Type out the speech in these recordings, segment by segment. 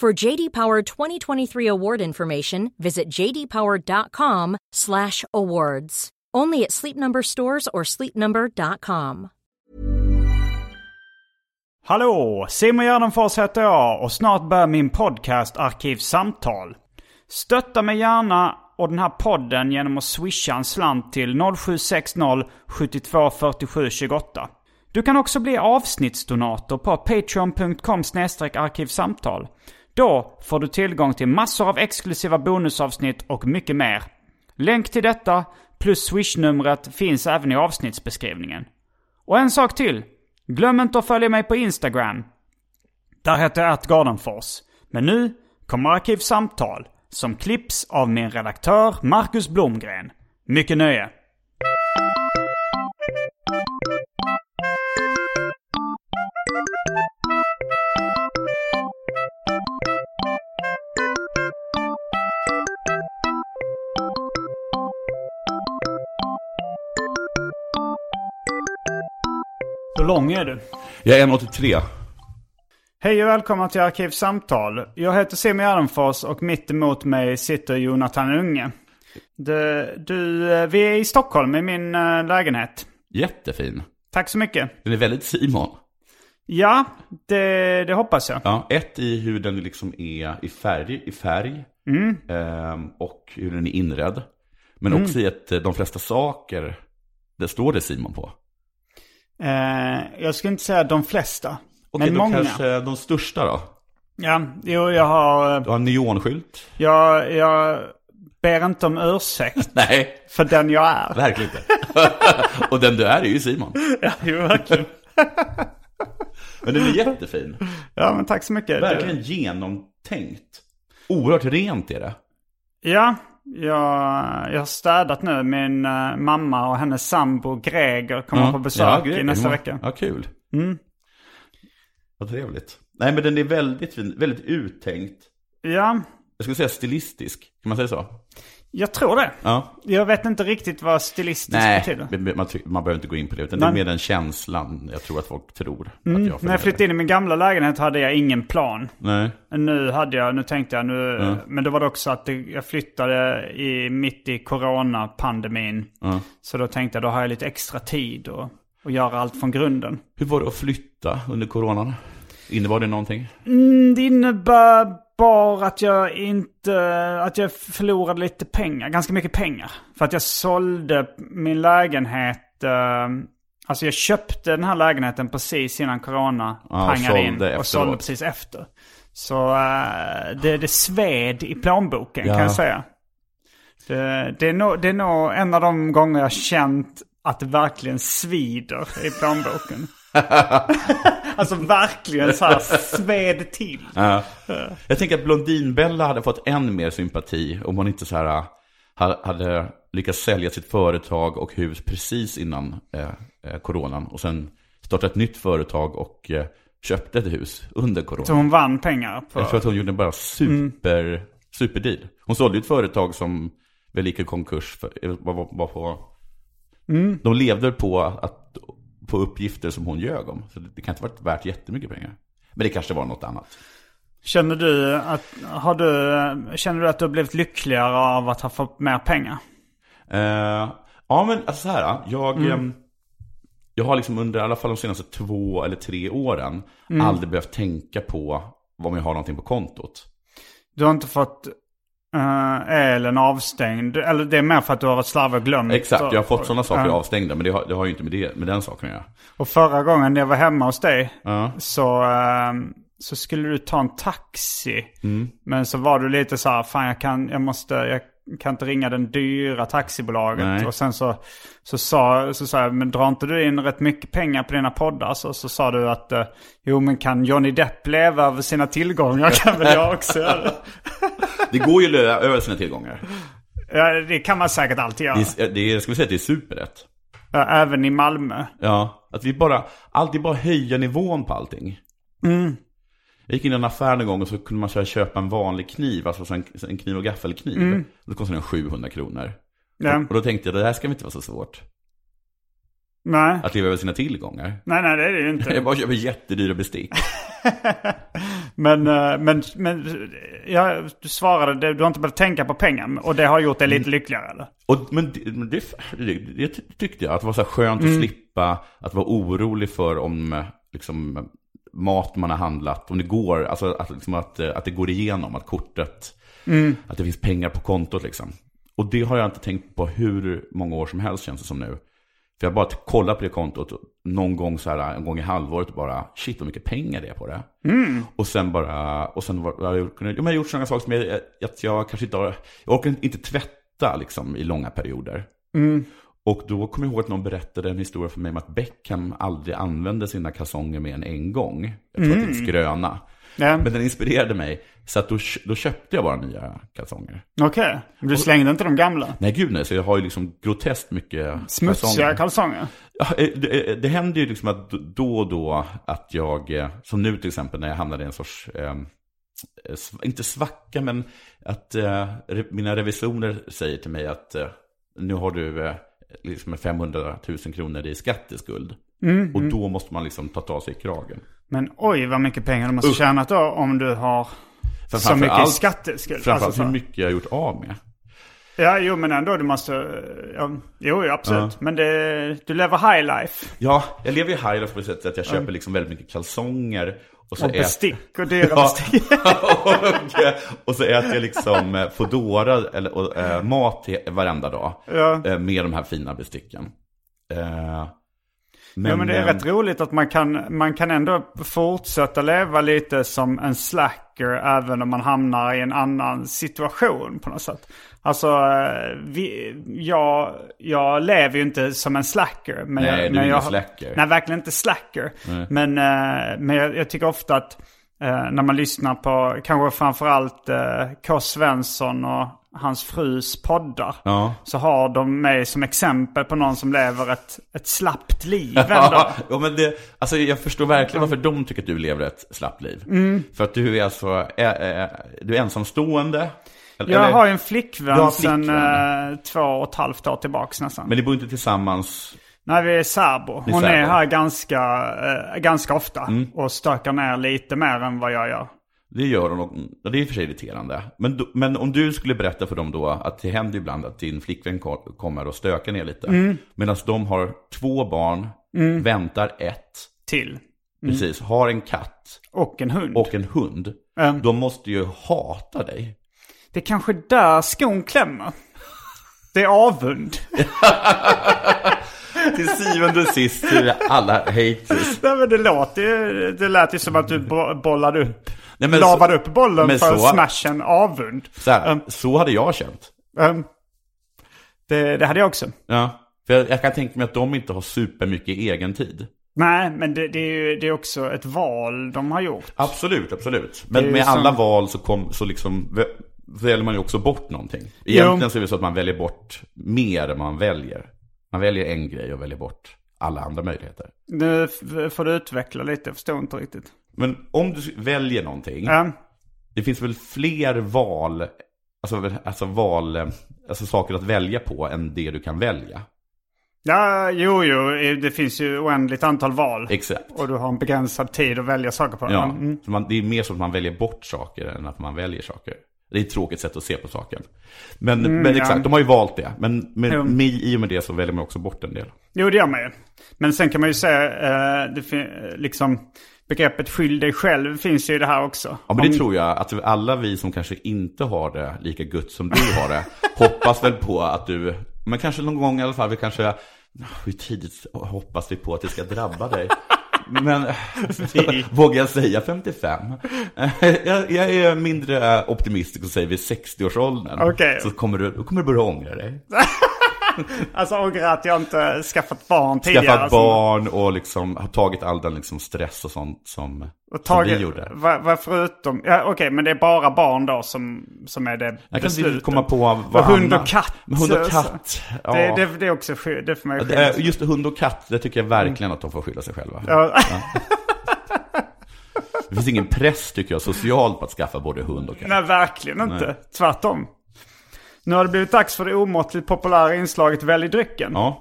For JD Power 2023 award information, visit jdpower.com/awards. Only at Sleep Number stores or sleepnumber.com. Hallå! Simon Gärdenfors heter jag och snart börjar min podcast Arkivsamtal. Stötta mig gärna och den här podden genom att swisha en slant till 0760 72 47 28. Du kan också bli avsnittsdonator på patreon.com arkivsamtal. Då får du tillgång till massor av exklusiva bonusavsnitt och mycket mer. Länk till detta plus swishnumret finns även i avsnittsbeskrivningen. Och en sak till. Glöm inte att följa mig på Instagram. Där heter jag atgardenfors. Men nu kommer Arkivsamtal som klipps av min redaktör Marcus Blomgren. Mycket nöje! Hur lång är du? Jag är 1,83. Hej och välkomna till Arkivsamtal. Jag heter Simon Gärdenfors och mitt emot mig sitter Jonathan Unge. Du, du, eh, vi är i Stockholm i min eh, lägenhet. Jättefin. Tack så mycket. Den är väldigt Simon. Ja, det, det hoppas jag. Ja, ett i hur den liksom är i färg, i färg ehm, och hur den är inredd. Men också i att eh, de flesta saker, det står det Simon på. Eh, jag skulle inte säga de flesta. Okej, men då många. kanske de största då? Ja, jo, jag har... eh, Du har en neonskylt? Jag, jag ber inte om ursäkt Nej, för den jag är. verkligen inte. och den du är är ju Simon. Jo, verkligen. Men den är jättefin. Ja, men tack så mycket. Verkligen genomtänkt. Oerhört rent är det. Ja, jag, jag har städat nu. Min eh, mamma och hennes sambo Greger kommer på besök grejer. i nästa Ja, vecka. Mm. Ja, kul. Vad trevligt. Nej, men den är väldigt fin, väldigt uttänkt. Ja, Jag skulle säga stilistisk, kan man säga så? jag tror det. Ja. Jag vet inte riktigt vad stilistiskt Nej, betyder. men- men man, ty- man behöver inte gå in på det, utan Nej. Mm, det är mer den känslan jag tror att folk tror att jag När jag flyttade in i min gamla lägenhet hade jag ingen plan. Nej, Nu hade jag, nu tänkte jag nu, men då var det också att det, jag flyttade i, mitt i coronapandemin. ja. Så då tänkte jag, då har jag lite extra tid och, och göra allt från grunden. Hur var det att flytta under coronan? Innebar det någonting? Mm, Det innebär bara att jag inte, att jag förlorade lite pengar, ganska mycket pengar. För att jag sålde min lägenhet, eh, alltså jag köpte den här lägenheten precis innan corona Ja, och pangade in. sålde Och sålde efteråt. precis efter. Så eh, det, det sved i plånboken Ja. kan jag säga. Det, det, är nog, det är nog en av de gånger jag har känt att det verkligen svider i plånboken. alltså verkligen så här sved till. Ja. Jag tänker att Blondinbella hade fått än mer sympati om hon inte så här, äh, ha- hade lyckats sälja sitt företag och hus precis innan eh, eh, coronan och sen startat ett nytt företag och eh, köpte ett hus under Så coronan. hon vann pengar på... Jag tror att hon gjorde en bara super, superdeal. Hon sålde ju ett företag som väl gick i konkurs. För, eh, var, var, var på, De levde på, att, på uppgifter som hon ljög om. Så det, det kan inte ha varit värt jättemycket pengar. Men det kanske var något annat. Känner du att... Har du... Känner du att du har blivit lyckligare av att ha fått mer pengar? Eh, ja, men alltså så här. Jag, Mm. ehm, jag har liksom under i alla fall de senaste två Mm. eller tre åren aldrig behövt tänka på om jag har någonting på kontot. Du har inte fått eh, elen avstängd? Eller det är mer för att du har varit slarvig och glömt? Exakt, jag har fått sådana saker Ja. avstängda, men det har, det har ju inte med, det, med den saken att göra. Och förra gången när jag var hemma hos dig Ja. så, eh, så skulle du ta en taxi. Mm. Men så var du lite så här, fan jag kan, jag måste, jag kan inte ringa den dyra taxibolaget. Nej. Och sen så, så sa så sa jag, men drar inte du in rätt mycket pengar på dina poddar? Så, så sa du att, eh, jo men kan Johnny Depp leva över sina tillgångar kan väl jag också göra det? Det går ju att löja över sina tillgångar. Ja, det kan man säkert alltid göra. Det, är- det, är- ska vi säga att det är superrätt? Ja, Även i Malmö. Ja, att vi bara, alltid bara höja nivån på allting. Mm. Jag gick in i en affär en gång och så kunde man så här köpa en vanlig kniv, alltså så en, så en kniv och gaffelkniv. Då kostade den 700 kronor. Mm. Ja. Och då tänkte jag, det här ska väl inte vara så svårt. Nej. Att leva över sina tillgångar. nej, nej det är det ju inte. Jag bara köper jättedyra bestick. Men, eh, men, men ja, du svarade, det- du har inte behövt tänka på pengar och det har gjort dig Mm. lite lyckligare eller? Och, men det, men det, det, det tyckte jag, att det var så här skönt att slippa att vara orolig för om eh, liksom, mat man har handlat, om det går, alltså att, liksom, att, eh, att det går igenom, att kortet, att det finns pengar på kontot liksom. Och det har jag inte tänkt på hur många år som helst känns det som nu. För jag bara kollar på det kontot någon gång så här, en gång i halvåret och bara, shit vad mycket pengar det är på det. Och sen bara, och sen var, jag har gjort- jo, men jag har gjort sådana saker som jag, att jag kanske inte har, jag orkar inte tvätta liksom i långa perioder. Och då kommer jag ihåg att någon berättade en historia för mig om att Beckham aldrig använde sina kalsonger mer än en gång. Jag tror att det är en skröna. Ja. Men den inspirerade mig, så att då, då köpte jag bara nya kalsonger. Okej, Men du slängde inte de gamla? Nej gud nej, så jag har ju liksom groteskt mycket Smutsiga kalsonger. kalsonger? Ja, eh, Det, eh, det händer ju liksom att då och då att jag, eh, som nu till exempel när jag hamnade i en sorts, eh, sv- inte svacka, men att eh, re- mina revisorer säger till mig att eh, nu har du eh, liksom 500 000 kronor i skatteskuld. Mm, och då måste man liksom ta tag sig i kragen. Men oj vad mycket pengar du måste Usch. tjänat då om du har så framför mycket allt- skatteskuld. Framförallt Alltså, hur så- mycket jag har gjort av med. Ja, jo men ändå du måste... Ja, jo, jo, absolut. Men det, du lever high life. Ja, jag lever ju high life på det sättet att jag köper liksom väldigt mycket kalsonger. Och, så Och äter- bestick och dyra Ja. bestick. och, eh, och så äter jag liksom eh, Foodora eller, och, eh, mat he- varenda dag. Eh, med de här fina besticken. Eh, men, Ja, men det är eh, rätt roligt att man kan, man kan ändå fortsätta leva lite som en slacker även om man hamnar i en annan situation på något sätt. Alltså, eh, vi, jag, jag lever ju inte som en slacker. Men Nej, du jag, är men ingen jag, slacker. Nej, verkligen inte slacker. Men, eh, men jag, jag tycker ofta att eh, när man lyssnar på kanske framförallt eh, K. Svensson och hans frus poddar. Ja. Så har de mig som exempel på någon som lever ett, ett slappt liv ändå. Ja, ja, men det, alltså jag förstår verkligen varför de tycker att du lever ett slappt liv. Mm. För att du är alltså ä, ä, du är ensamstående. Eller- Jag eller- har ju en flickvän Du har en sedan flickvän. eh, två och ett halvt år tillbaks nästan. Men ni bor inte tillsammans. Nej, vi är särbo. Ni är Hon är särbo. Mm. här ganska, eh, ganska ofta och stökar ner lite mer än vad jag gör. Det gör de, nog- ja, det är i och för sig irriterande. Men, då- men om du skulle berätta för dem då att det händer ibland att din flickvän ko- kommer och stökar ner lite. Mm. Medan de har två barn, väntar ett, Till. precis, har en katt Och en hund. och en hund. Mm. De måste ju hata dig. Det är kanske där skon klämmer. Det är avund. Till syvende och sist är det alla haters. Nej, men det, låter, ju- det lät ju som att du bo- bollade upp. Nej, men lavade så- upp Mm. bollen men för så- smashen avund. Så, här, så hade jag känt. Ehm, det, det hade jag också. Ja. För jag, jag kan tänka mig att de inte har supermycket egen tid. Nej, men det, det är ju det är också ett val de har gjort. Absolut, absolut. Det Men är med ju alla sant. val så, kom, så liksom vä- väljer man ju också bort någonting. Egentligen Jo. så är det så att man väljer bort mer än man väljer. Man väljer en grej och väljer bort alla andra möjligheter. Nu f- får du utveckla lite, jag förstår inte riktigt. Men om du väljer någonting, Ja, det finns väl fler val, alltså, alltså val, eh, alltså saker att välja på än det du kan välja. ja jo, jo, det finns ju oändligt antal val. Exakt. Och du har en begränsad tid att välja saker på. Ja, Mm. så man, det är mer så att man väljer bort saker än att man väljer saker. Det är ett tråkigt sätt att se på saken. Men, men Mm, ja. exakt, de har ju valt det. Men med, Jo. med, i och med det så väljer man också bort en del. Jo, det gör man ju. Men sen kan man ju säga, eh, det, fin- eh, liksom, Begreppet skyll dig själv finns ju i det här också. Ja, men det tror jag att alla vi som kanske inte har det lika gött som du har det, hoppas väl på att du, men kanske någon gång i alla fall, vi kanske, hur tidigt hoppas vi på att det ska drabba dig? Men Mm. vågar jag säga 55? jag, jag är mindre optimistisk och säger vid 60-årsåldern. Okej. Så kommer du, då kommer du börja ångra dig. Alltså ångrar att jag inte skaffat barn tidigare. Skaffat alltså. barn och liksom har tagit all den liksom stress och sånt som, Och som tagit, vi gjorde. vad, vad förutom, ja, okej men det är bara barn då som, som är det Jag kan inte beslutet. komma på och vad hund Anna- och katt. Men hund och så- katt. Ja. Det, det, det är också skydd, det är för mig Det är- skydd. Eh, Just hund och katt, det tycker jag verkligen att de får skylla sig själva. Ja. Det finns ingen press tycker jag socialt på att skaffa både hund och katt. Nej, verkligen inte. Tvärtom. Nu har det blivit dags för det omåttligt populära inslaget Välj drycken. Ja.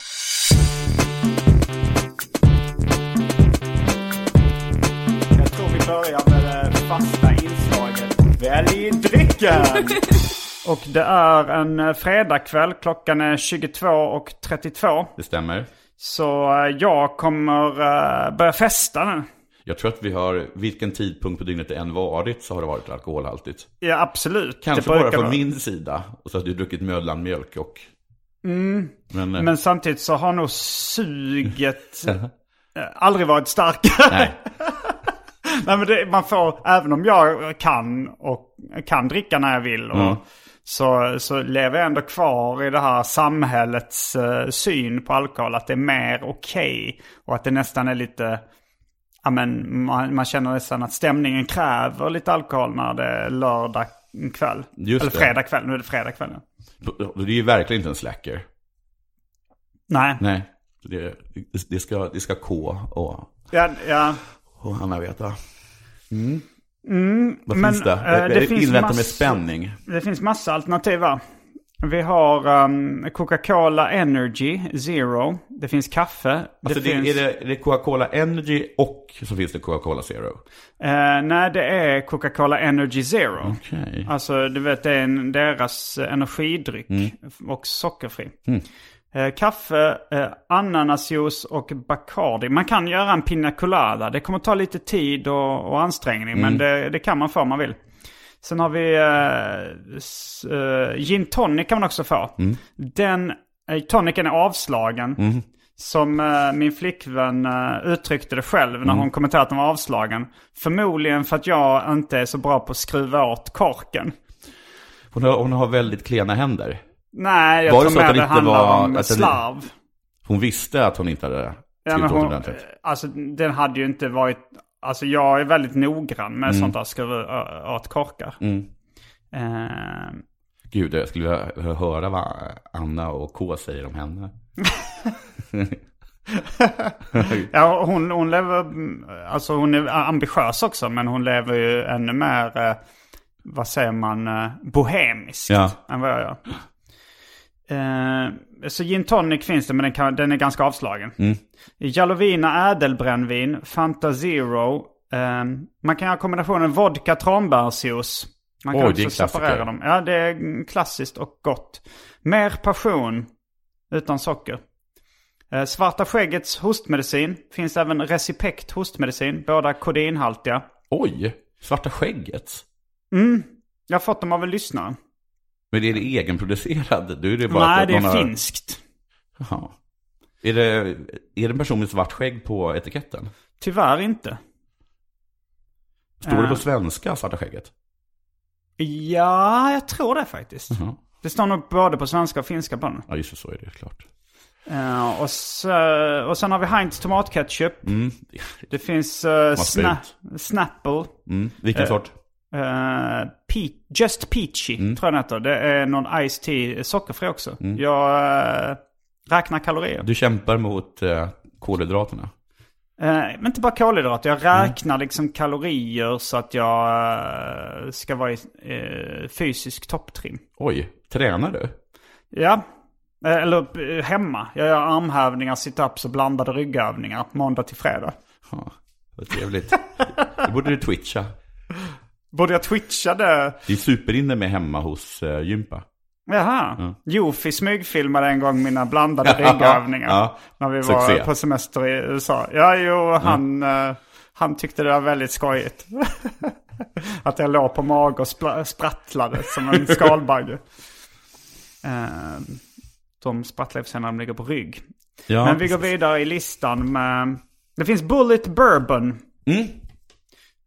Jag tror vi börjar med det fasta inslaget Välj drycken! och det är en eh, fredagkväll, klockan är 22.32. Det stämmer. Så eh, jag kommer eh, börja festa nu. Jag tror att vi har, vilken tidpunkt på dygnet det än varit så har det varit alkoholhaltigt. Ja, absolut. Kanske Det bara brukar från vara. min sida, och så har du druckit Möllanmjölk och... Men, eh, Mm, Men samtidigt så har nog suget eh, aldrig varit starkare. nej. Nej men det, man får, även om jag kan och kan dricka när jag vill och, Mm. så, så lever jag ändå kvar i det här samhällets eh, syn på alkohol. Att det är mer okej och att det nästan är lite, ja men man, man känner nästan att stämningen kräver lite alkohol när det är lördag kväll. Just Eller det. fredag kväll, nu är det fredag kväll. ja. Det är ju verkligen inte en slacker. Nej, Nej. Det, det, ska, det ska K och, ja, ja. och Anna veta. Vad Mm. Men, finns det? eh, Jag- det jag finns inväntar med massor. spänning. Det finns massa alternativ va? Vi har ehm, Coca-Cola Energy Zero. Det finns kaffe. Alltså det, finns... är, det, är det Coca-Cola Energy och så finns det Coca-Cola Zero? Eh, nej, det är Coca-Cola Energy Zero. Okej. Alltså, du vet, det är en, deras eh, energidryck och sockerfri. Eh, kaffe, eh, ananasjuice och Bacardi. Man kan göra en pina colada. Det kommer ta lite tid och, och ansträngning, men det, det kan man få om man vill. Sen har vi eh, s, eh, gin tonic kan man också få. Den eh, toniken är avslagen. Som eh, min flickvän eh, uttryckte det själv när Mm. hon kommenterade att den var avslagen. Förmodligen för att jag inte är så bra på att skruva åt korken. Hon, har, hon har väldigt klena händer. Nej, jag Var det så tror att mer den det inte handlar var- om att den- slarv. Hon visste att hon inte hade Ja, men skrivit åt hon, ordentligt. alltså den hade ju inte varit... Alltså jag är väldigt noggrann med Mm. sånt där skruva ö- åt korkar. Eh, Gud, jag skulle vilja höra vad Anna och K säger om henne. ja, hon, hon lever... mm, Alltså hon är ambitiös också men hon lever ju ännu mer... Eh, vad säger man? Eh, bohemiskt Ja. än vad jag gör. Eh, så gin tonic finns det men den, kan, den är ganska avslagen. Mm. Jalovina ädelbrännvin, Fanta Zero. ehm, man kan göra kombinationen vodka tranbärsjuice. Man kan Oj, det är också separera klassiker. dem. Ja, det är mm, klassiskt och gott. Mer passion utan socker. Eh, Svarta skäggets hostmedicin. Finns även Recipekt hostmedicin. Båda kodinhaltiga. Mm, Oj, Svarta skägget. Jag har fått dem av en lyssnare. Men är det egenproducerad? Du är det bara Nej, att det är någon har- finskt. Jaha. Är det, är det en person med svart skägg på etiketten? Tyvärr inte. Står Eh. det på svenska, Svarta skägget? Ja, jag tror det faktiskt. Ja. Det står nog både på svenska och finska på den. Ja, just det, så är det klart. Eh, och, så, och sen har vi Heinz tomatketchup. Mm. Det finns eh, spyr sna, Snapple. Mm. Vilken sort? eh, pe- Just Peachy tror jag den heter. Det är någon Ice Tea sockerfri också. Jag eh, räknar kalorier. Du kämpar mot eh, kolhydraterna. Eh, men inte bara kolhydrater. Jag räknar liksom kalorier så att jag eh, ska vara i eh, fysisk topptrim. Oj, tränar du? Ja. Eh, Eller eh, hemma. Jag gör armhävningar, situps och blandade ryggövningar måndag till fredag. Ja, vad trevligt. Då borde du twitcha. Borde jag twitcha det? Det är superinne med hemma hos eh, gympa. Jaha. Mm. Jofi smygfilmade en gång mina blandade ryggövningar. Ja, När vi var succé. Mm. på semester i USA. Ja, jo, han... eh, Han tyckte det var väldigt skojigt. att jag låg på mage och spla- sprattlade som en skalbagge. Eh, de sprattlar i och för sig när de ligger på rygg. Ja, Men vi går vidare i listan med... Det finns Bullet Bourbon. Mm.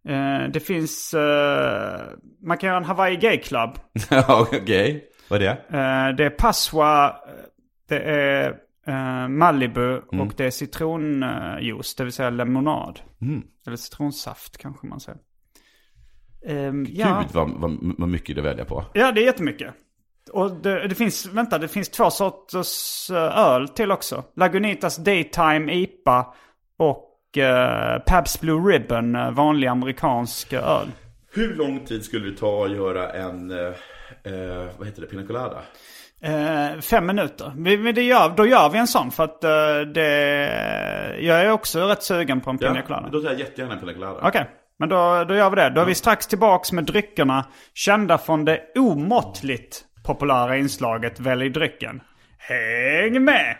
Eh, det finns... eh, man kan göra en Hawaii Gay Club. Ja, Okej, vad är det? Eh, det är Passoa, det är eh, Malibu och det är citronjuice, det vill säga lemonad. Eller citronsaft kanske man säger. Ehm, ja. Gud vad, vad, vad mycket det välja på. ja, det är jättemycket. Och det, det finns, vänta, det finns två sorters eh, öl till också. Lagunitas Daytime IPA och eh, Pabst Blue Ribbon, eh, vanlig amerikansk öl. Hur lång tid skulle det ta att göra en, eh, eh, vad heter det, pina colada? Eh, fem minuter. Vi, men det gör, då gör vi en sån för att eh, det... Jag är också rätt sugen på en pina colada. då tar jag jättegärna en pina colada. Okej, men då, då gör vi det. Då är vi strax tillbaks med dryckerna kända från det omåttligt populära inslaget Välj drycken. Häng med!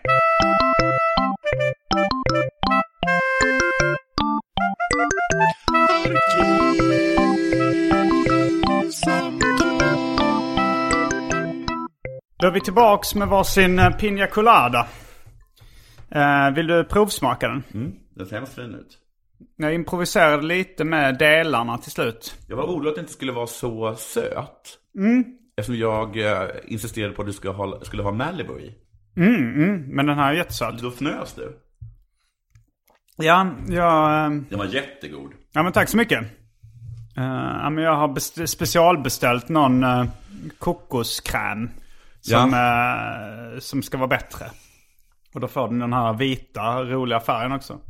Då är vi tillbaks med varsin eh, Pina Colada. Eh, vill du provsmaka den? Den ser hemskt fin ut. Jag improviserade lite med delarna till slut. Jag var orolig att det inte skulle vara så söt. Mm. Eftersom jag eh, insisterade på att du skulle ha, skulle ha Malibu i. Men den här är jättesöt. Då fnös du. Ja, jag, eh, Den var jättegod. ja men tack så mycket. Eh, ja, men jag har best- specialbeställt någon eh, kokoskräm som, eh, som ska vara bättre. Och då får den den här vita roliga färgen också.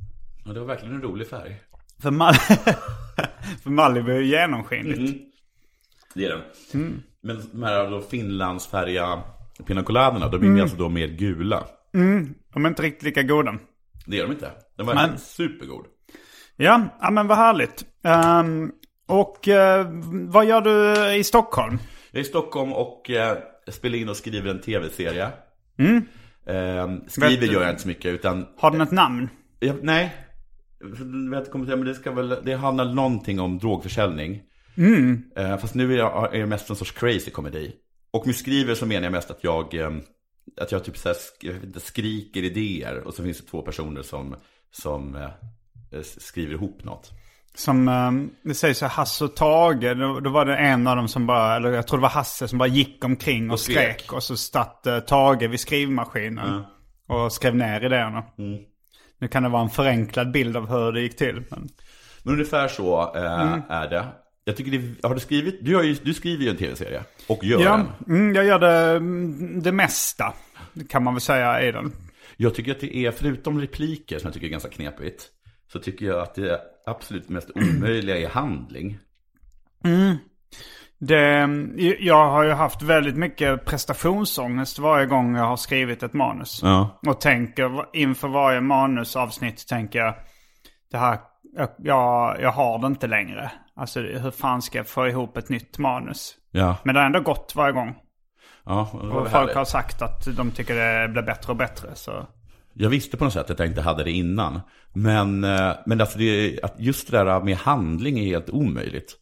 Ja, det var verkligen en rolig färg. För, Mal- för Malibu är ju genomskinligt. Det är den. Mm. Men de här då finlandsfärga pina coladerna, de är mm. alltså då mer gula. De är inte riktigt lika goda. Det är de inte. Den var Men- supergod. Ja, ja men vad härligt. Ehm, och eh, vad gör du i Stockholm? Jag är i Stockholm och eh, spelar in och skriver en tv-serie. Eh, Mm. Vet skriver du- gör jag inte så mycket, utan... Har den ett namn? Jag, nej. Jag vet inte kommentera, men det ska väl... Det handlar någonting om drogförsäljning. Mm. Eh, fast nu är, jag, är det mest en sorts crazy komedi. Och med skriver så menar jag mest att jag... Eh, att jag typ så här sk- jag vet inte, skriker idéer och så finns det två personer som, som eh, eh, skriver ihop något. Som, eh, det sägs så här, Hasse och Tage, då, då var det en av dem som bara, eller jag tror det var Hasse som bara gick omkring och, skrek. skrek. Och så satt eh, Tage vid skrivmaskinen och skrev ner idéerna. Nu kan det vara en förenklad bild av hur det gick till. Men... Men ungefär så eh, Mm. är det. Jag tycker det, har du skrivit? Du, har ju, du skriver ju en tv-serie och gör Ja, den. mm, jag gör det, mm, det mesta kan man väl säga i den. Jag tycker att det är, förutom repliker som jag tycker är ganska knepigt, så tycker jag att det absolut mest omöjliga är handling. Det, jag har ju haft väldigt mycket prestationsångest varje gång jag har skrivit ett manus. Ja. Och tänker inför varje manusavsnitt tänker jag det här, jag- jag, jag har det inte längre. Alltså hur fan ska jag få ihop ett nytt manus? Ja. Men det har ändå gått varje gång. ja det var Och väl folk har härligt. sagt att de tycker det blir bättre och bättre. Så. Jag visste på något sätt att jag inte hade det innan. Men, eh, men alltså det, att just det där med handling är helt omöjligt.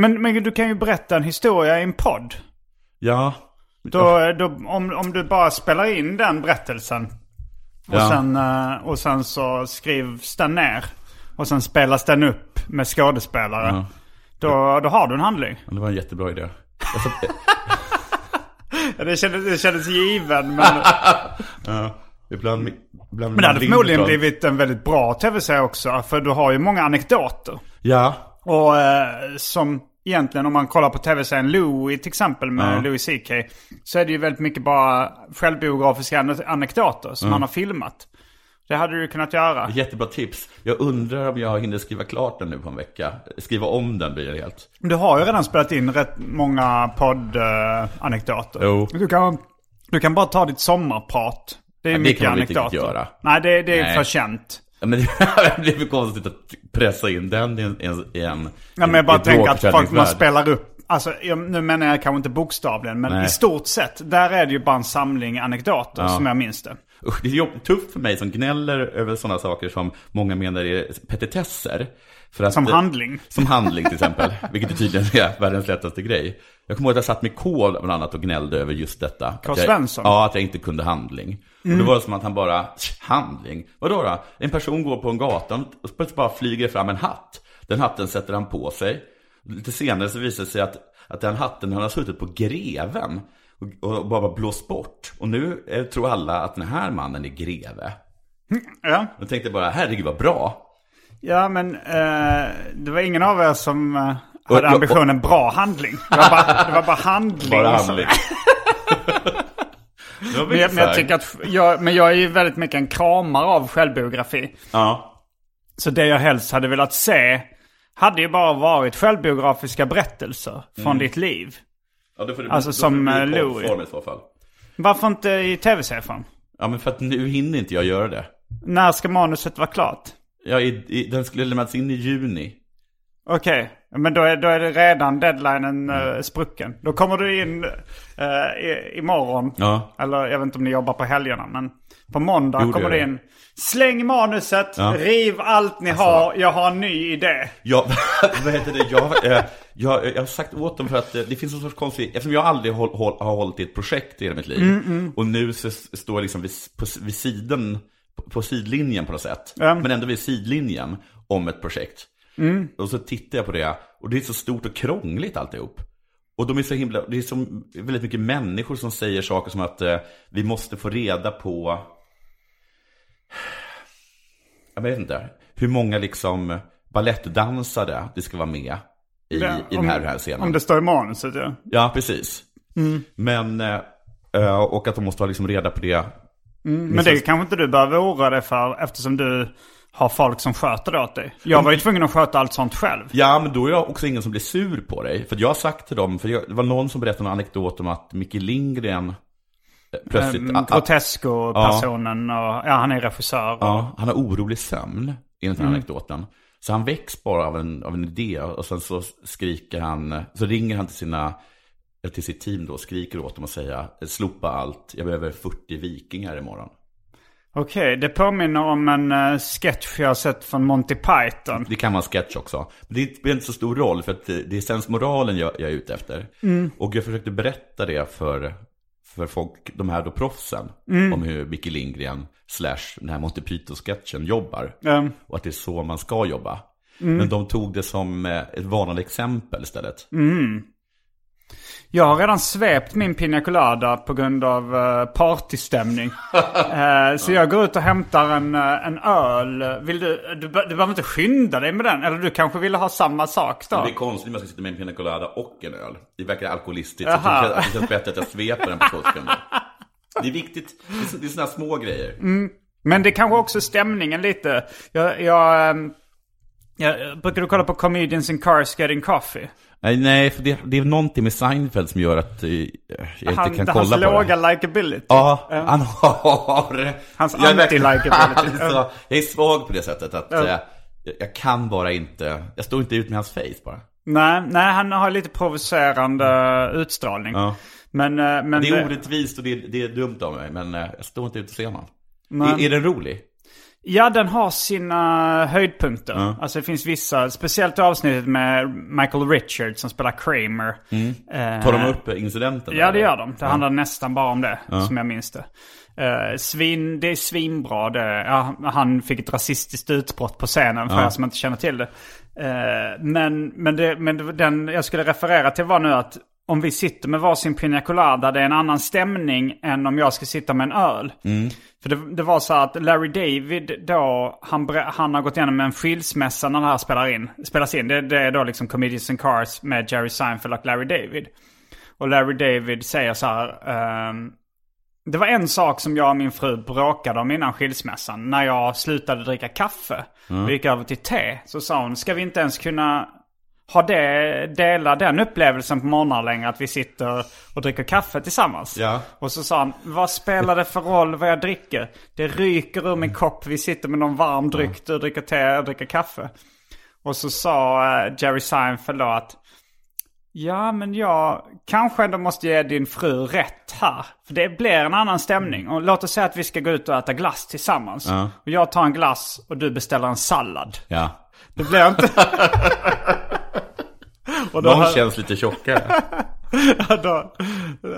Men, men du kan ju berätta en historia i en podd. Ja. Då, då, om, om du bara spelar in den berättelsen och, Ja. sen, eh, och sen så skrivs den ner och sen spelas den upp med skådespelare. Ja. Då, då har du en handling. Det var en jättebra idé. Ja, Det kändes, det kändes given men, Ibland, Ah, ibland men det hade förmodligen blivit en väldigt bra tv-serie också. För du har ju många anekdoter. Ja, Och eh, som egentligen om man kollar på tv-serien Louis till exempel med Ja. Louis CK. Så är det ju väldigt mycket bara självbiografiska ane- anekdoter som han har filmat. Det hade du kunnat göra. jättebra tips. Jag undrar om jag hinner skriva klart den nu på en vecka. Skriva om den blir det helt. Du har ju redan spelat in rätt många poddanekdoter. Jo. Du, kan, du kan bara ta ditt sommarprat. Det är det mycket kan man väl inte anekdoter. riktigt göra. Nej, det, det är Nej. för känt. Ja, Men det blir för konstigt att pressa in den i en... i en Ja, men jag bara tänker att folk, man drogförsäljningsvärld. spelar upp Alltså, jag, nu menar jag kanske inte bokstavligen, men Nej. i stort sett. Där är det ju bara en samling anekdoter som jag minns det. Usch, det är jobb- tufft för mig som gnäller över sådana saker som många menar är petitesser. För att, Som handling. Som handling till exempel, vilket ju tydligen är världens lättaste grej. Jag kommer ihåg att jag satt med Kohl bland annat och gnällde över just detta. Att Carl jag- Svensson? Mm. Ja, att jag inte kunde handling. Och då var det som att han bara, handling? Vadå då? En person går på en gata och plötsligt bara flyger fram en hatt. Den hatten sätter han på sig. Lite senare så visar det sig att, att den hatten han har suttit på greven och, och bara blåst bort. Och nu eh, tror alla att den här mannen är greve. Ja, Jag tänkte bara, herregud vad bra. ja men eh, det var ingen av er som eh, Och- hade och- ambitionen bra handling. Det var bara, det var bara handling. Bara handling. Det Men var jag, men jag så här. tycker att, jag, men jag är ju väldigt mycket en kramare av självbiografi. Ja. Så det jag helst hade velat se hade ju bara varit självbiografiska berättelser från Mm. ditt liv. Ja, då får det, Alltså då som, får det bli eh, poddform Louis. i så fall. Varför inte i tv-serien? Ja, men för att nu hinner inte jag göra det. När ska manuset vara klart? Ja, i, i, den skulle lämnas in i juni. Okej, men då är, då är det redan deadlinen eh, sprucken. Då kommer du in eh, i, imorgon. Ja. Eller jag vet inte om ni jobbar på helgerna, men på måndag Jo, det kommer gör du jag. in. Släng manuset, Ja. Alltså, riv allt ni har, jag har en ny idé. Jag, vad heter det? Jag, eh, jag, jag har sagt åt dem för att eh, det finns en sorts konstig, eftersom jag aldrig håll, håll, har hållit i ett projekt i hela mitt liv. Mm, Och nu så s- står jag liksom vid, s- på, s- vid sidan, på, på sidlinjen på något sätt. Ja. Men ändå vid sidlinjen om ett projekt. Och så tittar jag på det och det är så stort och krångligt alltihop. Och de är så himla, det är så väldigt mycket människor som säger saker som att eh, vi måste få reda på jag vet inte, hur många liksom balettdansare det ska vara med i, i den här, här scenen. Om det Mm. står i manuset ja. Ja, precis. Men, eh, eh, och att de måste ha liksom reda på det. Men det kanske inte du behöver oroa dig för eftersom du har folk som sköter det åt dig. Jag Mm. var ju tvungen att sköta allt sånt själv. Ja, men då är det också ingen som blir sur på dig. För jag har sagt till dem, för jag, det var någon som berättade en anekdot om att Micke Lindgren eh, plötsligt... Mm, a- a- Grotesco-personen och, ja han är regissör. och- Ja, han har orolig sömn, enligt den här anekdoten. Så han väcks bara av en, av en idé och sen så skriker han, så ringer han till sina eller till sitt team då och skriker åt dem och säga slopa allt, jag behöver 40 vikingar imorgon. Okej, det påminner om en eh, sketch jag har sett från Monty Python. Det kan vara en sketch också. Men det spelar inte så stor roll för att det det är sensmoralen jag, jag är ute efter. Och jag försökte berätta det för, för folk, de här då proffsen, om hur Micke Lindgren slash den här Monty Python-sketchen jobbar. Ehm, och att det är så man ska jobba. Men de tog det som eh, ett varnande exempel istället. jag har redan svept min Pina Colada på grund av eh, partystämning. Eh, så jag går ut och hämtar en, eh, en öl. Vill du, du, be- du behöver inte skynda dig med den. Eller du kanske ville ha samma sak då? Det är konstigt om jag ska sitta med en pina colada och en öl. Det verkar alkoholistiskt. Så Jaha. det känns- det känns bättre att jag sveper den på två sekunder. Det är viktigt. Det är så- Det är såna här små grejer. Men det kanske också är stämningen lite. Jag, jag, ehm, jag, brukar du kolla på Comedians in Cars Getting Coffee? Nej, Nej, för det, det är någonting med Seinfeld som gör att eh, jag inte Han, kan hans kolla på låga det. likability. Ja, han har... Hans Jag är verkligen- anti-likability. Alltså, Jag är svag på det sättet att Ja. eh, jag kan bara inte... Jag står inte ut med hans face bara. Nej, nej, han har lite provocerande eh, utstrålning. Ja. Men, eh, men Det är orättvist och det är, det är dumt av mig, men eh, jag står inte ut och ser honom. Men- Är, är den rolig? Ja, den har sina höjdpunkter. Alltså det finns vissa, speciellt i avsnittet med Michael Richards som spelar Kramer. Mm. Eh, Tar de upp incidenten? Ja, det eller? gör de. Det handlar nästan bara om det, som jag minns det. Eh, svin, det är svinbra. Det, ja, han fick ett rasistiskt utbrott på scenen för er som inte känner till det. Eh, men men, det, men det, den jag skulle referera till var nu att om vi sitter med varsin Pina Colada, det är en annan stämning än om jag ska sitta med en öl. För det, det var så att Larry David då, han, ber- han har gått igenom en skilsmässa när det här spelar in, spelas in. Det, det är då liksom Comedians in Cars med Jerry Seinfeld och Larry David. Och Larry David säger så här. ehm, det var en sak som jag och min fru bråkade om innan skilsmässan. När jag slutade dricka kaffe och gick över till te. Så sa hon, ska vi inte ens kunna ha det, dela den upplevelsen på morgonen längre? Att vi sitter och dricker kaffe tillsammans. Ja. Och så sa han, vad spelar det för roll vad jag dricker? Det ryker ur min kopp, vi sitter med någon varm dryck, du dricker te, jag dricker kaffe. Och så sa eh, Jerry Seinfeld då att Ja, men jag kanske ändå måste ge din fru rätt här. För det blir en annan stämning. Och låt oss säga att vi ska gå ut och äta glass tillsammans. Ja. Och jag tar en glass och du beställer en sallad. Ja. Det blir inte... och då, Någon har- känns lite tjockare. då,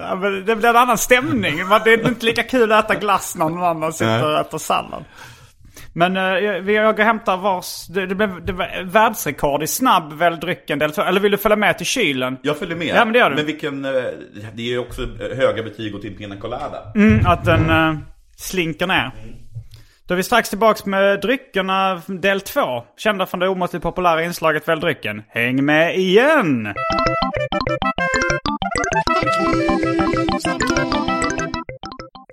ja, men det blir en annan stämning. Man- Det är inte lika kul att äta glass när någon annan sitter och äter sallad. Men eh, jag- vi jag går och hämtar vars... Det, det blev det var världsrekord i snabb väl drycken del två. Eller vill du följa med till kylen? Jag följer med. Ja, men det gör du. Men vilken, eh, det är ju också höga betyg åt din Pina Colada. Att den eh, slinker ner. Då är vi strax tillbaks med dryckerna del två. Kända från det omåttligt populära inslaget Välj drycken. Häng med igen!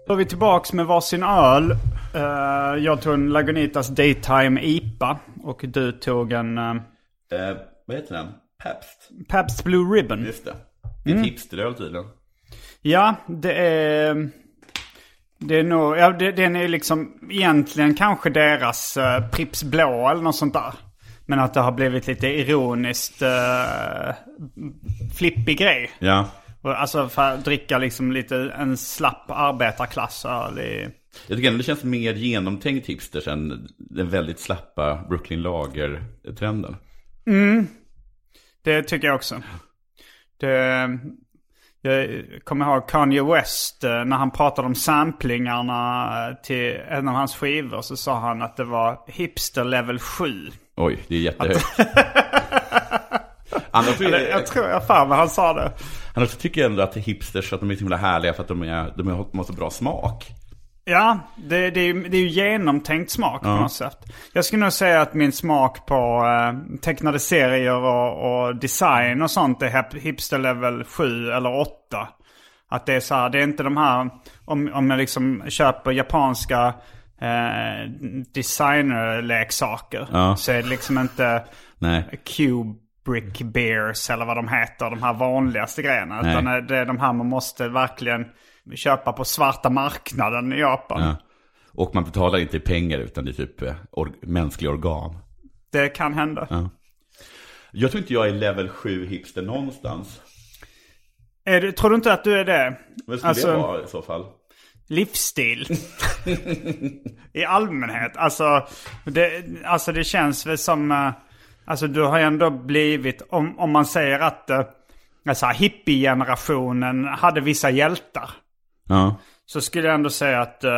Då är vi tillbaks med varsin öl. Eh, jag tog en Lagunitas Daytime IPA. Och du tog en uh, Eh, vad heter den? Pabst. Pabst Blue Ribbon. Just det. Det är ett hipsteröl tydligen. Ja, det är... Det är nog, ja, det, den är liksom egentligen kanske deras uh, Pripps Blå eller något sånt där. Men att det har blivit lite ironiskt eh, flippig grej. Ja. Och, alltså för att dricka liksom lite en slapp arbetarklassöl i... Jag tycker ändå det känns mer genomtänkt hipsters än den väldigt slappa Brooklyn Lager-trenden. Det tycker jag också. Det, jag kommer ihåg Kanye West eh, när han pratade om samplingarna eh, till en av hans skivor så sa han att det var hipster level 7. Oj, det är jättehögt. Annars, Eller, jag tror jag fan vad han sa det. annars tycker jag ändå att hipsters att de är så himla härliga för att de, är, de har de har så bra smak. Ja, det, det, är, ju- det är ju genomtänkt smak på något sätt. Jag skulle nog säga att min smak på eh, tecknade serier och, och design och sånt är hip- hipster level 7 eller 8. Att det är så här, det är inte de här, om, om jag liksom köper japanska eh, designerleksaker. Ja. Så är det liksom inte Nej. Kubrick Bears eller vad de heter, de här vanligaste grejerna. Mm. Nej. Utan eh, det är de här man måste verkligen köpa på svarta marknaden i Japan. Ja. Och man betalar inte i pengar utan det är typ eh, or- mänskliga organ. Det kan hända. Jag tror inte jag är level 7 hipster någonstans. Är du, tror du inte att du är det? Vad skulle Alltså det vara i så fall? livsstil. I allmänhet. Alltså det, alltså det känns väl som... eh, Alltså du har ju ändå blivit, om, om man säger att eh, alltså, hippiegenerationen hade vissa hjältar. Ja. så skulle jag ändå säga att eh,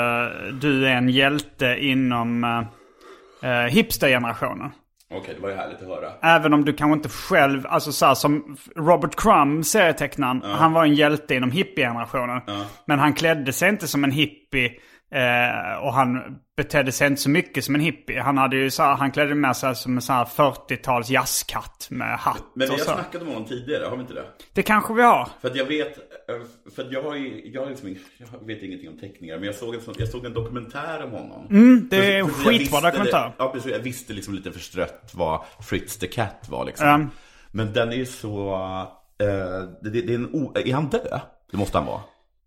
du är en hjälte inom eh, eh, hipstergenerationen. Okej, det var ju härligt att höra. Även om du kanske inte själv, alltså så här, som Robert Crumb, serietecknaren, han var en hjälte inom hippiegenerationen. Men han klädde sig inte som en hippie eh, och han betedde sig inte så mycket som en hippie. Han, hade ju så här, han klädde med sig som en så här 40-tals jazzkatt med hatt Men vi har och så. snackat om honom tidigare, har vi inte det? Det kanske vi har. För att jag vet, eh, för att jag, har ju- jag, har liksom, ing- jag vet ingenting om teckningar, men jag såg en, sån, jag såg en dokumentär om honom. Mm, det är en Precis, precis, jag skitbra visste dokumentär. det- Ja, precis. Jag visste liksom lite förstrött vad Fritz the Cat var liksom. Ja. Men den är ju så, eh, det, det det är en, o- är han död? Det måste han vara.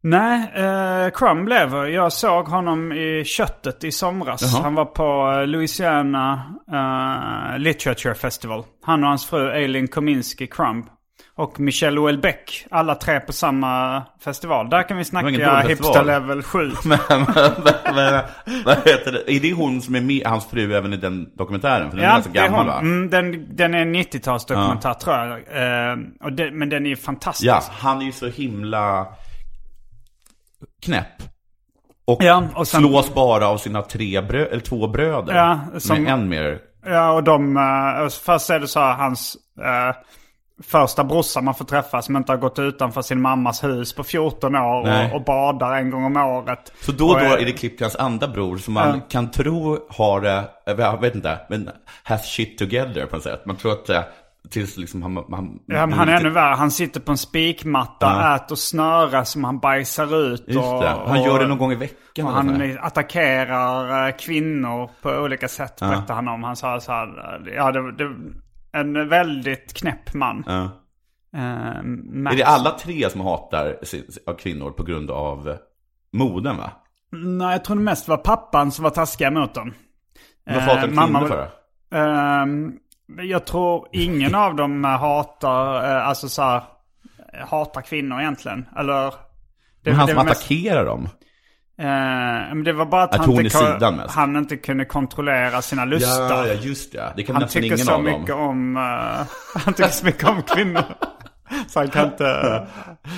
Nej, eh, Crumb lever. Jag såg honom i köttet i somras. Jaha. Han var på eh, Louisiana eh, Literature Festival. Han och hans fru Eileen Kominski Crumb. Och Michel Houellebecq. Alla tre på samma festival. Där kan vi ingen snacka dålig festival. hipster level 7. Men, men, men, vad heter det? Är det hon som är med, hans fru även i den dokumentären? För den är ganska det är gammal hon. va? Mm, den, den är en 90-talsdokumentär tror jag. Eh, och den- men den är fantastisk. Ja, Alltså, han är ju så himla knäpp. Och Ja, och sen- slås bara av sina tre brö- eller två bröder. Ja, som- Med än mer. Ja, och de... eh, först är det så här hans eh, första brorsa man får träffa som inte har gått utanför sin mammas hus på 14 år Nej. och, och badar en gång om året. Så då och då och, eh, är det klipp till hans andra bror som man kan tro har det, jag vet inte, men has shit together på något sätt. Man tror att eh, tills liksom han... Han, ja, men han är ännu värre. Han sitter på en spikmatta, äter snöre som han bajsar ut. Just och, det. Han gör det någon gång i och veckan. eller Han sådär. attackerar eh, kvinnor på olika sätt, berättar han om. Han sa så här, eh, ja det, det, en väldigt knäpp man. Ja. Eh, Är Max. det alla tre som hatar sin- av kvinnor på grund av moden va? Nej, jag tror det mest var pappan som var taskiga mot dem. Varför hatar de mamma kvinnor var- för det? Ehm, jag tror ingen av dem eh, hatar, eh, alltså så här, hatar kvinnor egentligen. Eller... Det, Men han det som var mest- attackerar dem. Eh, men det var bara att, Att han, hon inte är ko- sidan mest. han inte kunde kontrollera sina lustar. Ja, ja, just det. Det kan han nästan tycker ingen så av mycket dem. om... eh, han tycker så mycket om kvinnor. så han kan inte...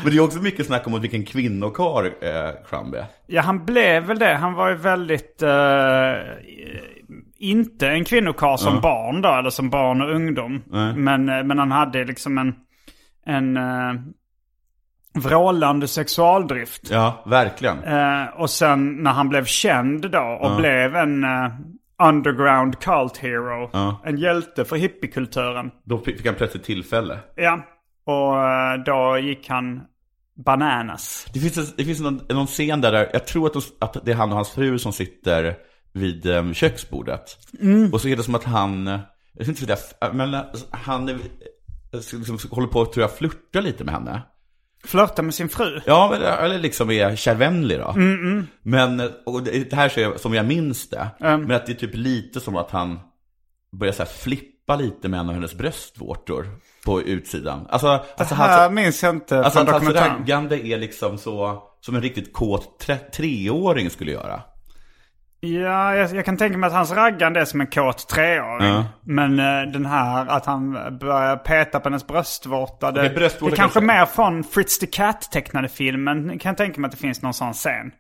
Men det är också mycket snack om vilken kvinnokar eh, Crumb är. Ja, han blev väl det. Han var ju väldigt... eh, inte en kvinnokarl som barn då, eller som barn och ungdom. Men, eh, men han hade liksom en... En eh, vrålande sexualdrift. Ja, verkligen. Eh, och sen när han blev känd då och blev en eh, underground cult hero. En hjälte för hippiekulturen. Då fick han plötsligt tillfälle. Ja, och eh, då gick han bananas. Det finns, en- det finns någon, någon scen där, där jag tror att, de, att det är han och hans fru som sitter vid eh, köksbordet. Mm. Och så är det som att han, jag vet inte hur det är, men eh, han är, eh, liksom, håller på att tror jag flirta lite med henne. Flörta med sin fru. Ja, men- eller liksom är kärvänlig då. Mm, Men, och det det här ser jag som jag minns det, Mm. men att det är typ lite som att han börjar så här flippa lite med en av hennes bröstvårtor på utsidan. Alltså, alltså här hans, minns jag inte alltså från att hans dokumentären. raggande är liksom så, som en riktigt kåt tre, treåring skulle göra. Ja, jag, jag kan tänka mig att hans raggande är som en kåt treåring. Ja. Men eh, den här att han eh, börjar peta på hennes bröstvårta. Det, Okej, bröstvårta det kanske är kanske. mer från Fritz the Cat tecknade filmen. Kan jag tänka mig att det finns någon sån scen.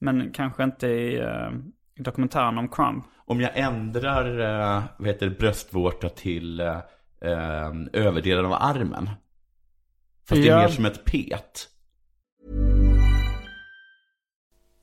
Men kanske inte i eh, i dokumentären om Crumb. Om jag ändrar eh, vad heter det, bröstvårta till eh, eh, överdelen av armen, fast det är Ja. mer som ett pet.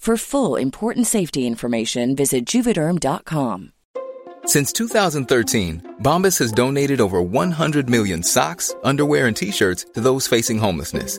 For full important safety information, visit juvederm.com. Since 2013, Bombas has donated over 100 million socks, underwear, and t shirts to those facing homelessness.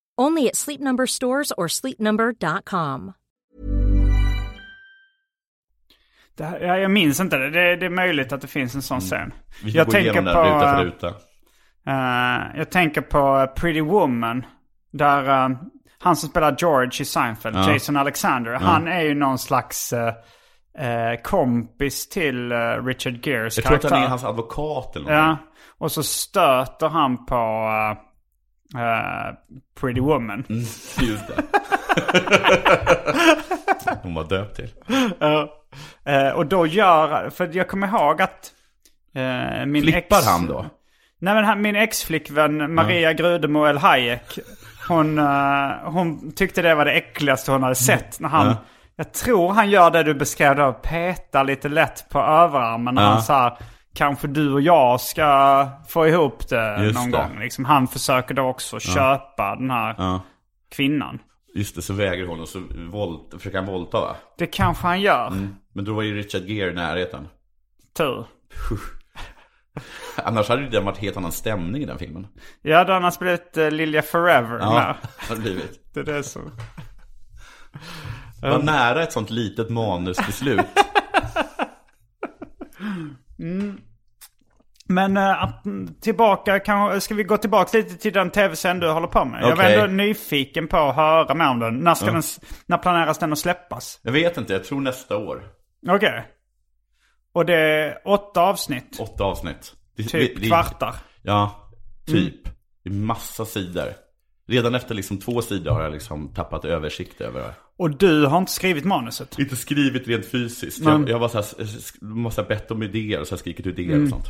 Only at Sleep Number stores or sleepnumber.com. Det här, ja, jag minns inte det. det. Det är möjligt att det finns en sån scen. Mm. Vi går igenom det här ruta för ruta. Eh, jag tänker på eh, Pretty Woman. Där eh, han som spelar George i Seinfeld, Jason Alexander, han är ju någon slags eh, eh, kompis till eh, Richard Gears Jag tror att karaktär. han är hans advokat eller Ja, något. och så stöter han på eh, eh, Pretty Woman. Mm. Just det. Hon var döpt till. Eh, och då gör, för jag kommer ihåg att eh, min Flippar ex... han då? Nej men han, min exflickvän Maria Grudemo El Hayek. Hon, eh, hon tyckte det var det äckligaste Mm. hon hade sett. När han, Jag tror han gör det du beskrev då. Petar lite lätt på överarmen. När han så här kanske du och jag ska få ihop det Just någon det. gång. Liksom, han försöker då också köpa den här Ja. kvinnan. Just det, så vägrar hon och så våld, försöker han våldta va? Det kanske han gör. Men då var ju Richard Gere i närheten. Tur. Annars hade det varit helt annan stämning i den filmen. Jag hade annars blivit eh, Lilja Forever. Ja, Ja. hade det blivit. Det är det som... Var nära ett sånt litet manusbeslut. Men eh, att, tillbaka, kan, ska vi gå tillbaka lite till den tv-serien du håller på med? Jag var Okej. ändå nyfiken på att höra mer om den. När, ska den, s- när planeras den att släppas? Jag vet inte, jag tror nästa år. Okej. Och det är åtta avsnitt. Åtta avsnitt. Det- typ Mm. det- det- kvartar. Ja, typ. Det är massa sidor. Redan efter liksom två sidor har jag liksom tappat översikt över det. Och du har inte skrivit manuset? Inte skrivit rent fysiskt. Men- Jag, jag var så här, sk- man har bett om idéer och så har jag skrikit idéer och sånt.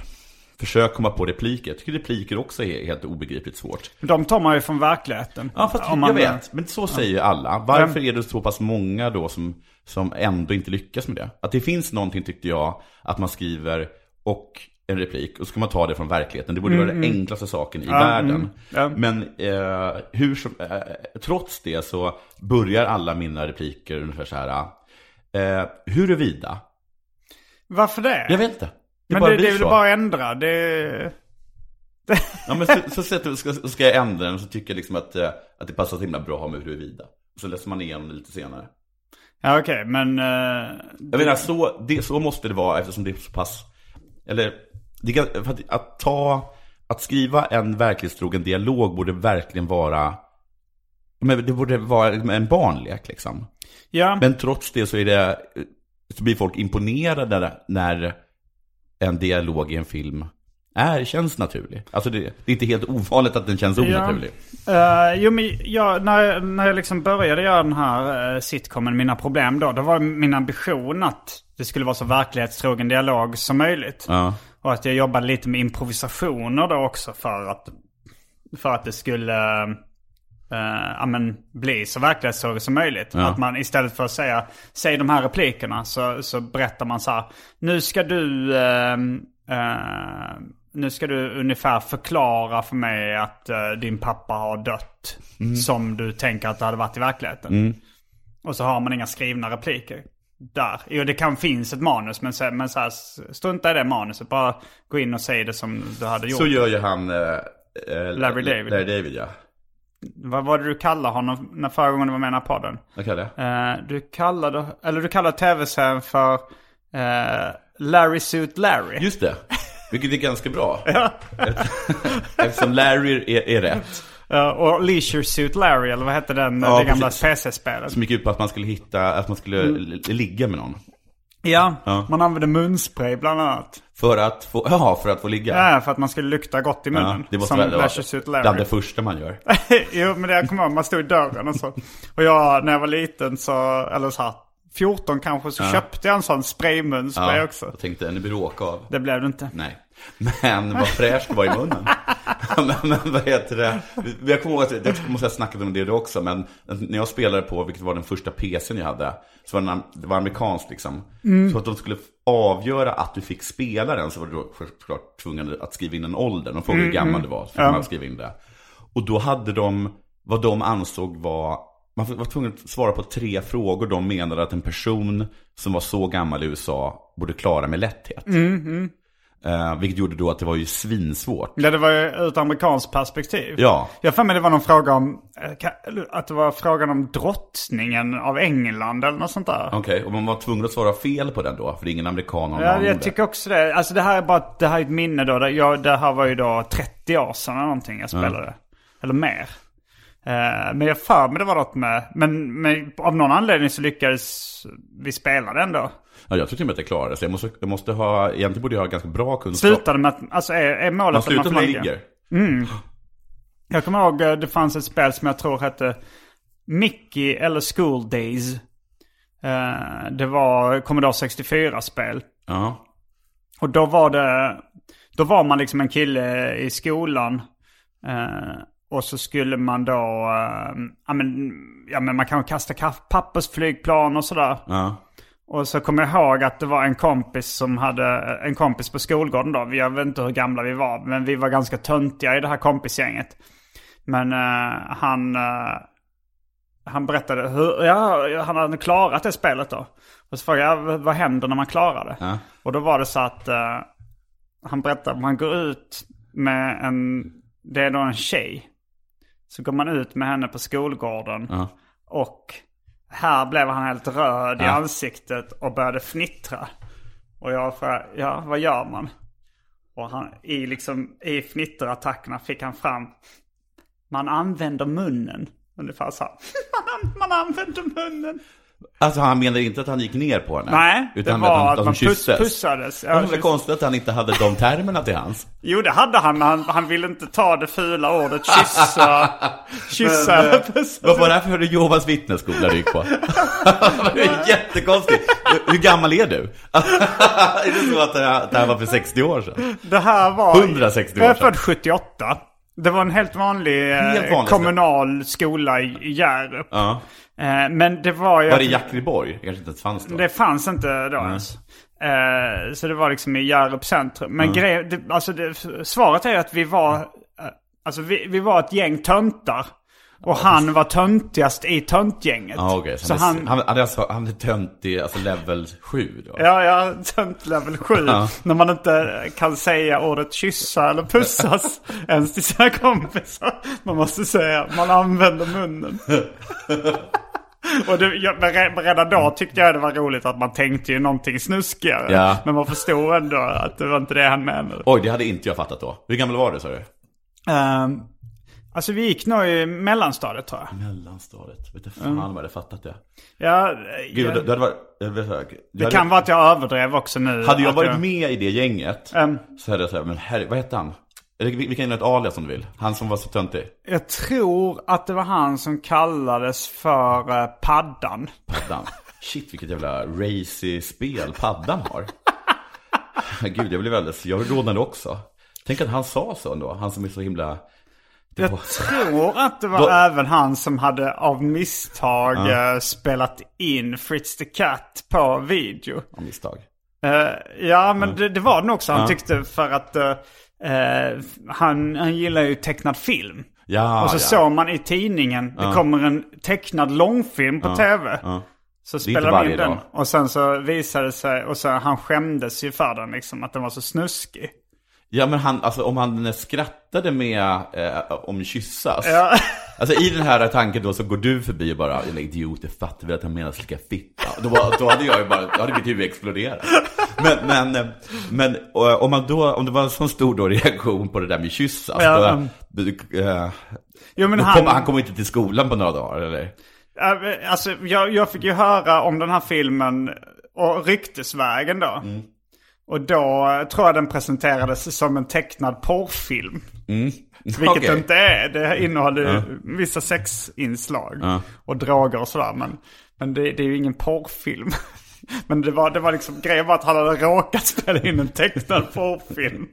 Försök komma på repliker. Jag tycker repliker också är helt obegripligt svårt. De tar man ju från verkligheten. Ja, fast Om jag vet. Men så säger ju alla. Varför är det så pass många då som, som ändå inte lyckas med det? Att det finns någonting, tyckte jag, att man skriver och en replik och så ska man ta det från verkligheten. Det borde vara Mm, den enklaste saken i världen. Men eh, hur som, eh, trots det så börjar alla mina repliker ungefär så här. Eh, huruvida. Varför det? Jag vet inte. Det men bara det, blir det är väl så. bara att ändra. Det... Ja, men så, så, sätter- ska, så ska jag ändra den så tycker jag liksom att, eh, att det passar så himla bra med huruvida. Så läser man igenom det lite senare. Ja okej, men... eh, Jag menar, så, det, så måste det vara eftersom det är så pass... Eller, det, kan- för att, att ta... Att skriva en verklighetstrogen dialog borde verkligen vara... Men det borde vara en barnlek liksom. ja, Men trots det så är det... Så blir folk imponerade när en dialog i en film är, känns naturlig. Alltså det, det är inte helt ovanligt att den känns onaturlig. Eh, jo men jag, när, jag- när jag liksom började göra den här eh, sitcomen Mina Problem då. Då var min ambition att det skulle vara så verklighetstrogen dialog som möjligt. Ja. Och att jag jobbade lite med improvisationer då också för att, för att det skulle eh, ja, men, bli så verklighetstroget som möjligt. Att man istället för att säga säg de här replikerna så, så berättar man så här. Nu ska du, eh, eh, nu ska du ungefär förklara för mig att eh, din pappa har dött. Mm. Som du tänker att det hade varit i verkligheten. Och så har man inga skrivna repliker. Där. Jo, det kan finns ett manus, men, så, men så här, strunta i det manuset. Bara gå in och säg det som du hade gjort. Så gör ju han... Eh, eh, Larry David. Larry David, ja. Vad var det du kallade honom när förra gången du var med i den här podden? Vad kallar jag det? Eh, du kallade, eller du kallade tv-serien för eh, Larry Suit Larry. Just det, vilket är ganska bra. Eft- Eftersom Larry är, är rätt. Eh, och Leisure Suit Larry, eller vad hette den, Ja, det gamla precis. PC-spelet? Som gick ut på att man skulle hitta, att man skulle Mm. l- ligga med någon. Ja, Ja. man använde munspray bland annat. För att få, ja, för att få ligga. Ja. för att man skulle lukta gott i munnen. Ja, det måste som väl vara Leisure Suit bland Larry. det första man gör. jo, men det jag kommer ihåg, man stod i dörren och så. Och jag, när jag var liten så, eller så här, 14 kanske, så köpte jag en sån spraymunspray Ja, också. jag tänkte, nu blir det åka av. Det blev det inte. Nej. Men vad fräscht det var i munnen. men, men vad heter det? Jag kommer ihåg att, jag måste ha snackat om det då också, men när jag spelade på, vilket var den första PCn jag hade, så var den, det var amerikanskt liksom. Så att de skulle avgöra att du fick spela den så var du då såklart tvungen att skriva in en ålder. De frågade hur gammal du var, så fick man skriva in det. Och då hade de, vad de ansåg var, man var tvungen att svara på tre frågor de menade att en person som var så gammal i USA borde klara med lätthet. Eh, vilket gjorde då att det var ju svinsvårt. Ja, det var ju ur ett amerikanskt perspektiv. Ja. Jag har för mig det var någon fråga om, eh, ka- eller att det var frågan om drottningen av England eller något sånt där. Okej, och man var tvungen att svara fel på den då, för ingen amerikan har någon Ja, aning om jag det. tycker också det. Alltså det här är bara ett- det här är ett minne då. Det, jag, det här var ju då 30 år sedan eller någonting jag spelade. Eller mer. Eh, men jag för mig det var något med... Men, men av någon anledning så lyckades vi spela den då. Ja, jag tror till och med att jag klarade det. Jag måste, jag måste ha, egentligen borde jag ha ganska bra kunskap. Slutade med att... Alltså är, är målet Man att man slutar får med ligga? ligger. Jag kommer ihåg eh, det fanns ett spel som jag tror hette Mickey eller School Days. Eh, det var Commodore 64-spel. Ja. Och då var det... Då var man liksom en kille i skolan. Eh, och så skulle man då... Eh, ja, men, ja men man kanske kasta kaff- pappersflygplan och sådär. ja. Och så kommer jag ihåg att det var en kompis som hade en kompis på skolgården då. Jag vet inte hur gamla vi var, men vi var ganska töntiga i det här kompisgänget. Men eh, han, eh, han berättade hur, ja, han hade klarat det spelet då. Och så frågade jag, "Vad- vad händer när man klarar det? Ja. Och då var det så att eh, han berättade att man går ut med en, det är då en tjej. Så går man ut med henne på skolgården. Ja. Och här blev han helt röd i Ja. ansiktet och började fnittra. Och jag frågade, ja vad gör man? Och han, i, liksom, i fnitterattackerna fick han fram, man använder munnen. Ungefär så här. Man, an- man använder munnen. Alltså han menar inte att han gick ner på henne? Nej, utan det var att, han, att de man puss- kysstes. pussades. Ja, Ja, det var kyss- konstigt att han inte hade de termerna till hans. Jo det hade han, men han, han ville inte ta det fula ordet kyssa. kyssa eller eh, pussa. Vad var det här för Jehovas vittnesskola du gick på? det är jättekonstigt. Hur gammal är du? är det så att det här, det här var för 60 år sedan? Det här var... 160 år Jag är sedan. född 78. Det var en helt vanlig, eh, Helt vanlig kommunal skola i i Hjärup. Ja. Eh, men det var ju... Var det Jackreborg? kanske inte ens fanns då? Det fanns inte då ens. Eh, så det var liksom i Hjärup centrum. Men grej, det, alltså det, svaret är att vi var, eh, alltså vi, vi var ett gäng töntar. Och han var töntigast i töntgänget. Ja, okej. Så, Så han, han, han, han, hade alltså, han är töntig, alltså level 7 då? Ja, ja, tönt level 7. När man inte kan säga ordet kyssa eller pussas ens till sina kompisar. Man måste säga, man använder munnen. Och det, jag, men re- men redan då tyckte jag det var roligt att man tänkte ju någonting snuskigare. Ja. Men man förstod ändå att det var inte det han menade. Oj, det hade inte jag fattat då. Hur gammal var du sa du? Ehm, alltså vi gick nog i mellanstadiet tror jag. Mellanstadiet. Vet du fan vad jag hade fattat det. Mm. Ja, Gud, jag du, du hade varit... Jag vet inte, du det hade, kan vara att jag överdrev också nu. hade jag att varit med i det gänget Ehm. så hade jag sagt, men herre, vad hette han? Eller vi, vi kan ge ett alias om du vill. Han som var så töntig. Jag tror att det var han som kallades för eh, Paddan. Paddan. Shit, vilket jävla racy spel Paddan har. Gud, jag blev alldeles... Jag rodnade också. Tänk att han sa så ändå. Han som är så himla... Det Jag var- tror att det var Då- även han som hade av misstag eh, spelat in Fritz the Cat på video. av misstag. Eh, ja, men det, det var nog också han tyckte för att eh, eh, han, han gillar ju tecknad film. Ja, Och så Ah, ja. Ah. såg man i tidningen, det kommer en tecknad långfilm på tv. Så är inte spelade de varje in den. dag. Och sen så visade det sig, och så han skämdes ju för den liksom, att den var så snuskig. Ja men han, alltså om han skrattade med eh, om kyssas. Alltså i den här tanken då så går du förbi och bara, jag är idiot, jag fattar väl att han menar slicka fitta. Då, var, då hade jag ju bara, då hade mitt huvud exploderat. Men, men, eh, men eh, om man då, om det var en sån stor då reaktion på det där med kyssas. Ja, då, mm. eh, Jo men då han, kom, han kom inte till skolan på några dagar eller? äh, alltså jag, jag fick ju höra om den här filmen och ryktesvägen då. Mm. Och då eh, tror jag den presenterades som en tecknad porrfilm. Vilket Mm. Okej. det inte är. Det innehåller ju vissa sexinslag och droger och sådär. Men, men det, det är ju ingen porrfilm. Men det var, det var liksom grejen var att han hade råkat spela in en tecknad porrfilm.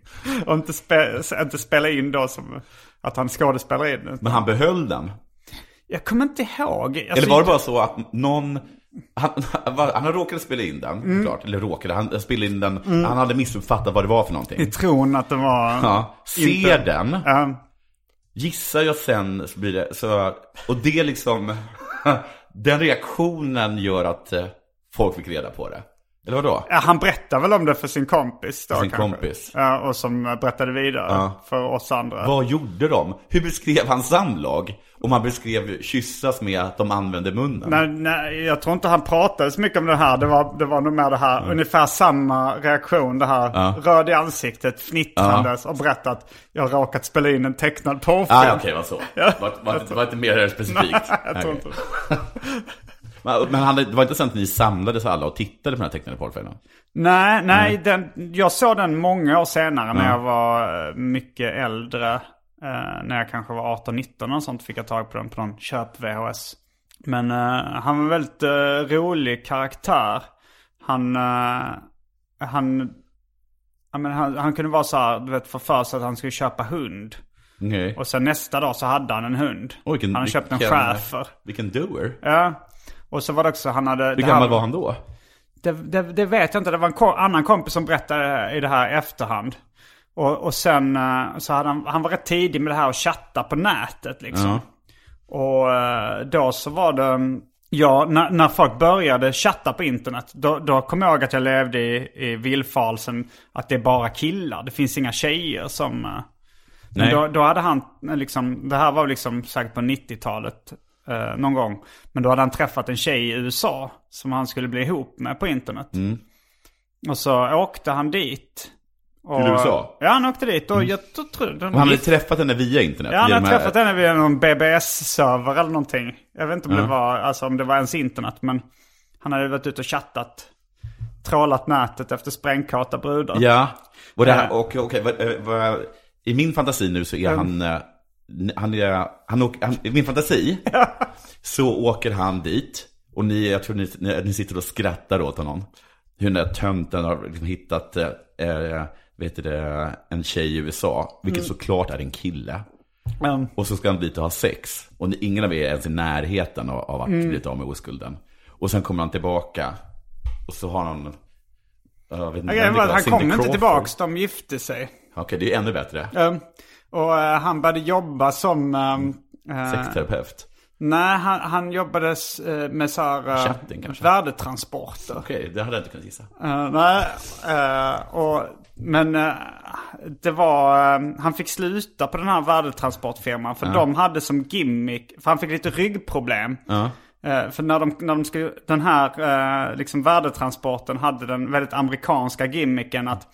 Och inte, spe, inte spela in då som att han skådespelar in den. Men han behöll den. Alltså, Jag kommer inte ihåg. Alltså, Eller var det bara så att någon, han, han, han råkade spela in den, Mm. klart, eller råkade, han spelade in den, han hade missuppfattat vad det var för någonting. I tron att det var... Ja, ser Inte- den, Ja. gissar jag sen så blir det så, och det liksom, den reaktionen gör att eh, folk fick reda på det. Eller vadå? Ja, han berättade väl om det för sin kompis då För sin kanske. kompis. Ja, och som eh, berättade vidare för oss andra. Vad gjorde de? Hur beskrev han samlag? Om han beskrev kyssas med att de använde munnen? Nej, nej, jag tror inte han pratade så mycket om det här. Det var, det var nog mer det här, ungefär samma reaktion. Det här röd i ansiktet, fnittrandes och berättat jag har råkat spela in en tecknad porrfilm. Ah, ja, okej, det var så. Var, var, det var inte mer specifikt. jag tror inte. Men men han, det var inte så att ni samlades alla och tittade på den här tecknade porrfilmen? Nej, nej, Den, jag såg den många år senare när jag var eh, mycket äldre. Eh, när jag kanske var 18-19 och sånt fick jag tag på den på någon köp-VHS. Men eh, han var en väldigt eh, rolig karaktär. Han, eh, han, ja, men han, han kunde vara så här, du vet, få för sig att han skulle köpa hund. Nej. Och sen nästa dag så hade han en hund. Oj, vilken- han köpte en vilken- schäfer. Vilken doer. Ja. Och så var det också, han hade... Hur det här- gammal var han då? Det, det, det vet jag inte. Det var en ko- annan kompis som berättade det här i det här i efterhand. Och, och sen eh, så hade han, han var rätt tidig med det här att chatta på nätet liksom. Och eh, då så var det, mm, ja när, när folk började chatta på internet. Då, då kom jag ihåg att jag levde i, i villfarelsen att det är bara killar. Det finns inga tjejer som... eh, men Nej. då, då hade han, eh, liksom, det här var liksom säkert på 90-talet eh, någon gång. Men då hade han träffat en tjej i USA som han skulle bli ihop med på internet. Mm. Och så åkte han dit. Och, Till USA? Ja, han åkte dit och jag t- tror... Den, Mm. Och han hade träffat henne via internet? ja, han genom hade att- träffat henne via någon BBS-server eller någonting. Jag vet inte om, det Ja. var, alltså, om det var ens internet, men han hade varit ute och chattat. Trålat nätet efter sprängkarta brudar. Ja, och, det här, och okej, vad, eh, vad, i min fantasi nu så är han, eh, han, är, han, åker, han, i min fantasi så åker han dit och ni, jag tror ni, ni, ni sitter och skrattar åt honom. Hur den där tönten har liksom hittat, eh, eh, vet du det, en tjej i USA, vilket såklart är en kille. Men, Och så ska han dit och ha sex. Och ni- ingen av er är ens i närheten av, av att bli av med oskulden. Och sen kommer han tillbaka. Och så har han... eh, Jag vet inte, grejen vem det var att han Cindy kom inte Crawford. tillbaks, de gifte sig. Okej, det är ännu bättre. Ehm, och eh, han började jobba som... ehm, eh, Sexterapeut. nej, han, han jobbade s- eh, med så här, eh, Chatten kanske? värdetransporter. Okej, det hade jag inte kunnat gissa. Eh, nej, eh, och, men eh, det var... eh, han fick sluta på den här värdetransportfirman. För de hade som gimmick... För han fick lite ryggproblem. Eh, för när de, när de skulle, den här eh, liksom värdetransporten hade den väldigt amerikanska gimmicken att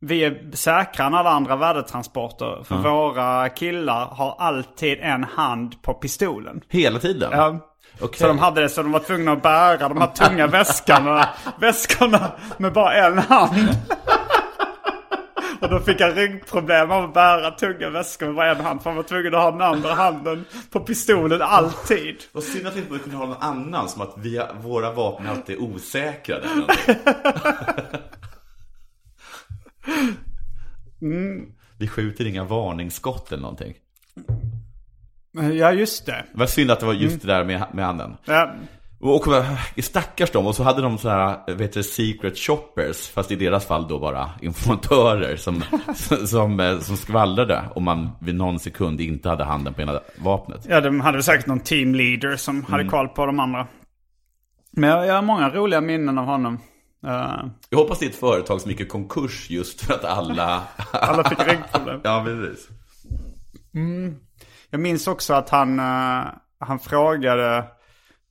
vi är säkrare än alla andra värdetransporter. För våra killar har alltid en hand på pistolen. Hela tiden? Ja. Okej. Så de hade det så de var tvungna att bära de här tunga väskorna, väskorna med bara en hand. Och då fick han ryggproblem av att bära tunga väskor med bara en hand. För han var tvungen att ha den andra handen på pistolen alltid. Vad synd att vi inte kunde ha någon annan, som att vi, våra vapen alltid är osäkrade. Mm. Vi skjuter inga varningsskott eller någonting. Ja, just det. Vad synd att det var Mm. just det där med, med handen. Ja, Och, och eh, stackars dem, och så hade de så här, eh, vet du, secret shoppers, fast i deras fall då bara informatörer som, som, eh, som skvallrade om man vid någon sekund inte hade handen på ena vapnet. ja de hade säkert någon teamleader som hade koll på de andra. Mm. Men jag, jag har många roliga minnen av honom. Eh, Jag hoppas det är ett företag som gick i konkurs just för att alla... alla fick ryggproblem. ja, precis. Jag minns också att han, eh, han frågade,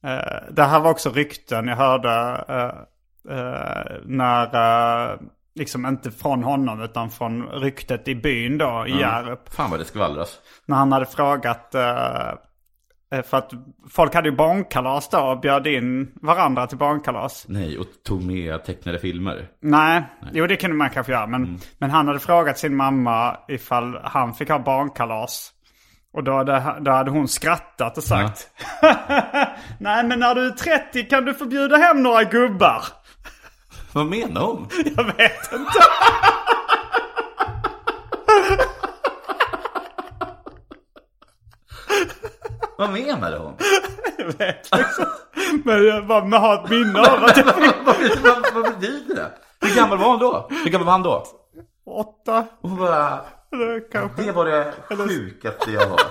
eh, det här var också rykten jag hörde eh, eh, när, eh, liksom inte från honom utan från ryktet i byn då i Hjärup. Fan vad det skvallras. När han hade frågat, eh, eh, för att folk hade ju barnkalas då och bjöd in varandra till barnkalas. Nej, och tog med tecknade filmer. Nej, jo det kunde man kanske göra. Men, men han hade frågat sin mamma ifall han fick ha barnkalas. Och då hade, då hade hon skrattat och sagt Nej men när du är 30 kan du få bjuda hem några gubbar. Vad menar hon? Jag vet inte. Vad menade hon? Men jag bara men har ett minne av att jag fick vad, vad, vad betyder det? Hur gammal var hon då? Hur gammal var han då? åtta. Hon bara... eller Kanske. Det var det sjukaste jag hört.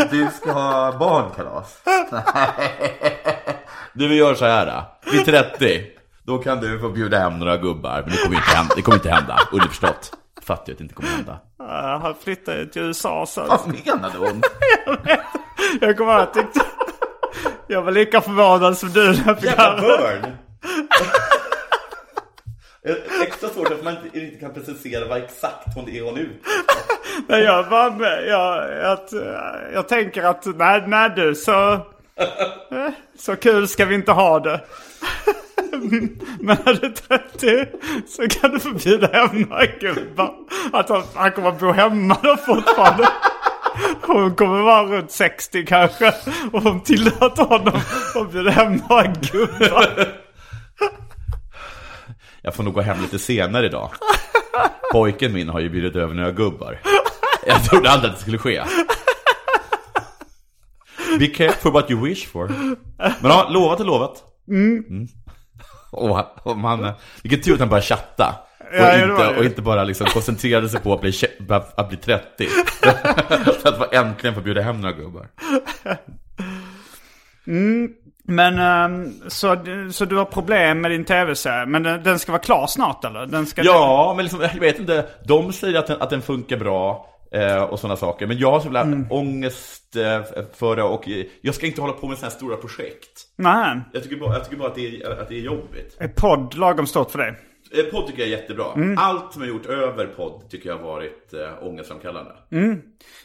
Att du ska ha barnkalas. Du vi gör så här. då. Vid 30, då kan du få bjuda hem några gubbar. Men det kommer inte hända. Det kommer inte hända. Underförstått. Fattar jag att det inte kommer hända. Ja, Han flyttade till USA sen. Vad menade hon? Jag kommer ihåg att jag tyckte... Jag var lika förvånad som du när jag fick Jävla höra. börn! Extra svårt att man inte, inte kan precisera vad exakt hon är hon nu. Nej, jag, var med, jag, att, eh, jag tänker att nej, nej du, så, eh, så kul ska vi inte ha det. Men när du är 30 så kan du förbjuda hem några gubbar. Att han, han kommer bo hemma då fortfarande. Hon kommer vara runt 60 kanske. Och hon tillåter honom att bjuda hem några gubbar. Jag får nog gå hem lite senare idag. Pojken min har ju bjudit över några gubbar. Jag trodde aldrig att det skulle ske. Mm. Mm. Be careful what you wish for. Men ja, lovat är lovat. Och, och man, vilken tur att han började chatta. Och, Ja, det var inte, det. och inte bara liksom koncentrerade sig på att bli, kä- att bli 30. Så att man äntligen får bjuda hem några gubbar. Men ehm, så, du- så du har problem med din tv-serie. Men den, den ska vara klar snart eller? Den ska Ja, men liksom, jag vet inte. De säger att den, att den funkar bra eh, och sådana saker. Men jag har så jävla ångest eh, för det. Och eh, jag ska inte hålla på med sådana här stora projekt. Nej. Jag tycker bara, jag tycker bara att, det är, att det är jobbigt. Är podd lagom stort för dig? Eh, Podd tycker jag är jättebra. Allt som jag gjort över podd tycker jag har varit eh, ångestframkallande.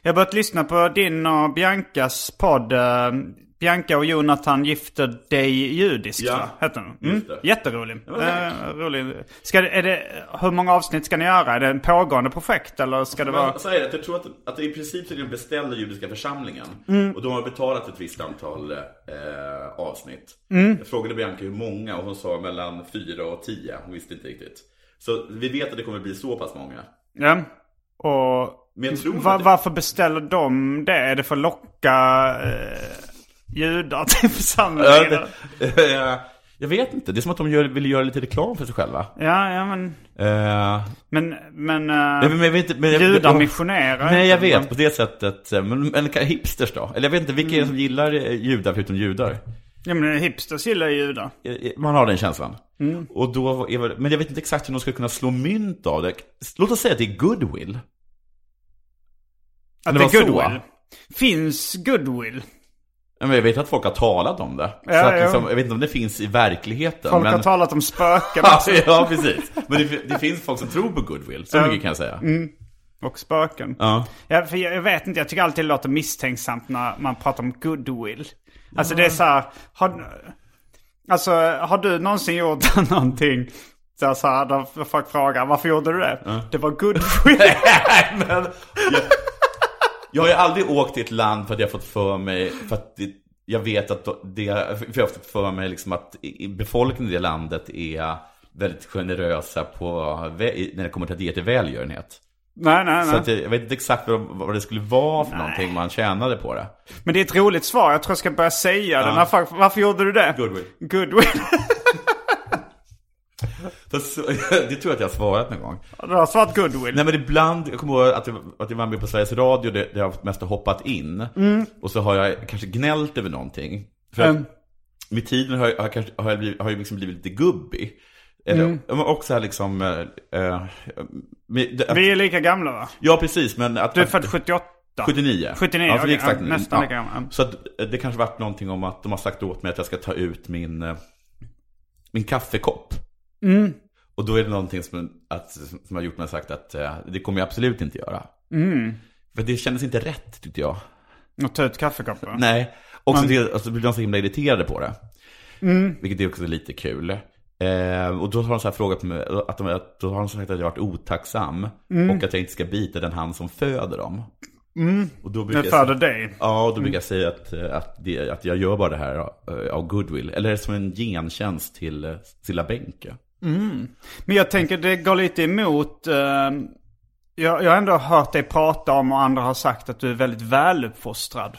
Jag har börjat lyssna på din och Biancas podd. eh, Bianca och Jonathan gifter dig judiskt, Ja, va? heter den. Mm. just det. Jätterolig. men tack. Eh, rolig. Ska, det- är det, hur många avsnitt ska ni göra? Är det en pågående projekt eller ska det vara... Men, så är det, jag tror att, att det i princip är den beställda judiska församlingen. Och de har betalat ett visst antal eh, avsnitt. Jag frågade Bianca hur många och hon sa mellan fyra och tio. Hon visste inte riktigt. Så vi vet att det kommer bli så pass många. Ja. Och Men jag tror va, att det- varför beställer de det? Är det för att locka eh, judar till församlingen? Ja, eller? det- eh, jag vet inte, det är som att de gör, vill göra lite reklam för sig själva. Ja, ja men... Eh, Men, men... eh, Nej, men, men, jag vet inte, men, jag- Judar jag- missionerar Nej, jag inte, vet. men- På det sättet. Men, men kan- hipsters då? Eller jag vet inte, vilka är det som gillar eh, judar förutom judar? Ja men hipsters gillar ju judar. Eh, eh, Man har den känslan. Mm. Och då är väl, men jag vet inte exakt hur de skulle kunna slå mynt av det. Låt oss säga att det är goodwill. Att det det var är så, goodwill. va? Finns goodwill? Ja, Men jag vet att folk har talat om det. Ja, så att, ja. liksom, jag vet inte om det finns i verkligheten. Folk men... har talat om spöken Ja, ja, precis. Men det, det finns folk som tror på goodwill. Så mycket kan jag säga. Mm. och spöken. Ja. Ja, för jag, jag vet inte, jag tycker alltid det låter misstänksamt när man pratar om goodwill. Alltså det är så här, har, alltså, har du någonsin gjort någonting så här, så här, där folk frågar varför gjorde du det? Det var goodwill. Nej, men... Jag, jag har ju aldrig åkt till ett land för att jag har fått för mig, för att det, jag vet att det, för jag har fått för mig liksom att i- i befolkningen i det landet är väldigt generösa på, vä- i- när det kommer till att ge till välgörenhet. nej, nej, Så nej. att jag, jag vet inte exakt vad, vad det skulle vara för någonting man tjänade på det. Men det är ett roligt svar, jag tror jag ska börja säga det. När folk, varför gjorde du det? Goodwill. Goodwill. Fast, så- det tror jag att jag har svarat någon gång. du har svarat goodwill. Nej men ibland, jag kommer ihåg att jag, att jag var med på Sveriges Radio där där jag mest har hoppat in. Och så har jag kanske gnällt över någonting. För att Mm. med tiden har jag, har jag, kanske, har jag, blivit, har jag liksom blivit lite gubbig. Eller, Mm. men också här liksom... eh, eh, med- det- Vi är lika gamla va? ja precis, men att... Du är att- född 78. 79. 79, ja, så det är okej, exakt ja, nu. nästan lika gammal. Så att, eh, det kanske varit någonting om att de har sagt åt mig att jag ska ta ut min, eh, min kaffekopp. Mm. Och då är det någonting som, att, som har gjort mig sagt att eh, det kommer jag absolut inte göra. Mm. För det kändes inte rätt tyckte jag. Och ta ut kaffekoppen. Nej, och så, det, och så blir de så himla irriterade på det. Mm. Vilket är också lite kul. Eh, och då har de så här frågat mig, att de, att då har de sagt att jag har varit otacksam. Mm. Och att jag inte ska bita den hand som föder dem. Och då brukar Jag jag Mm. föder dig. Ja, och då brukar jag säga att, eh, att, det, att jag gör bara det här eh, av goodwill. Eller som en gentjänst till eh, Silla Bänke. Men jag tänker det går lite emot. Eh, jag, jag har ändå hört dig prata om och andra har sagt att du är väldigt väluppfostrad.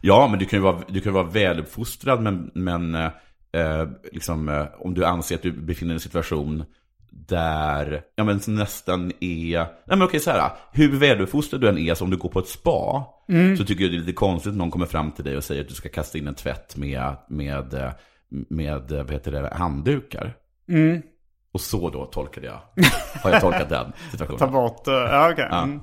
Ja, men du kan ju vara, du kan ju vara väluppfostrad, men, men eh, eh, liksom, eh, om du anser att du befinner dig i en situation där, ja men som nästan är, nej men okej så här, hur väluppfostrad du än är, så om du går på ett spa, Mm. så tycker jag det är lite konstigt att någon kommer fram till dig och säger att du ska kasta in en tvätt med, med, eh, med eh, vad heter det, handdukar. Mm. Och så då tolkade jag, har jag tolkat Ta den situationen. bort, eh, ja okej. Mm.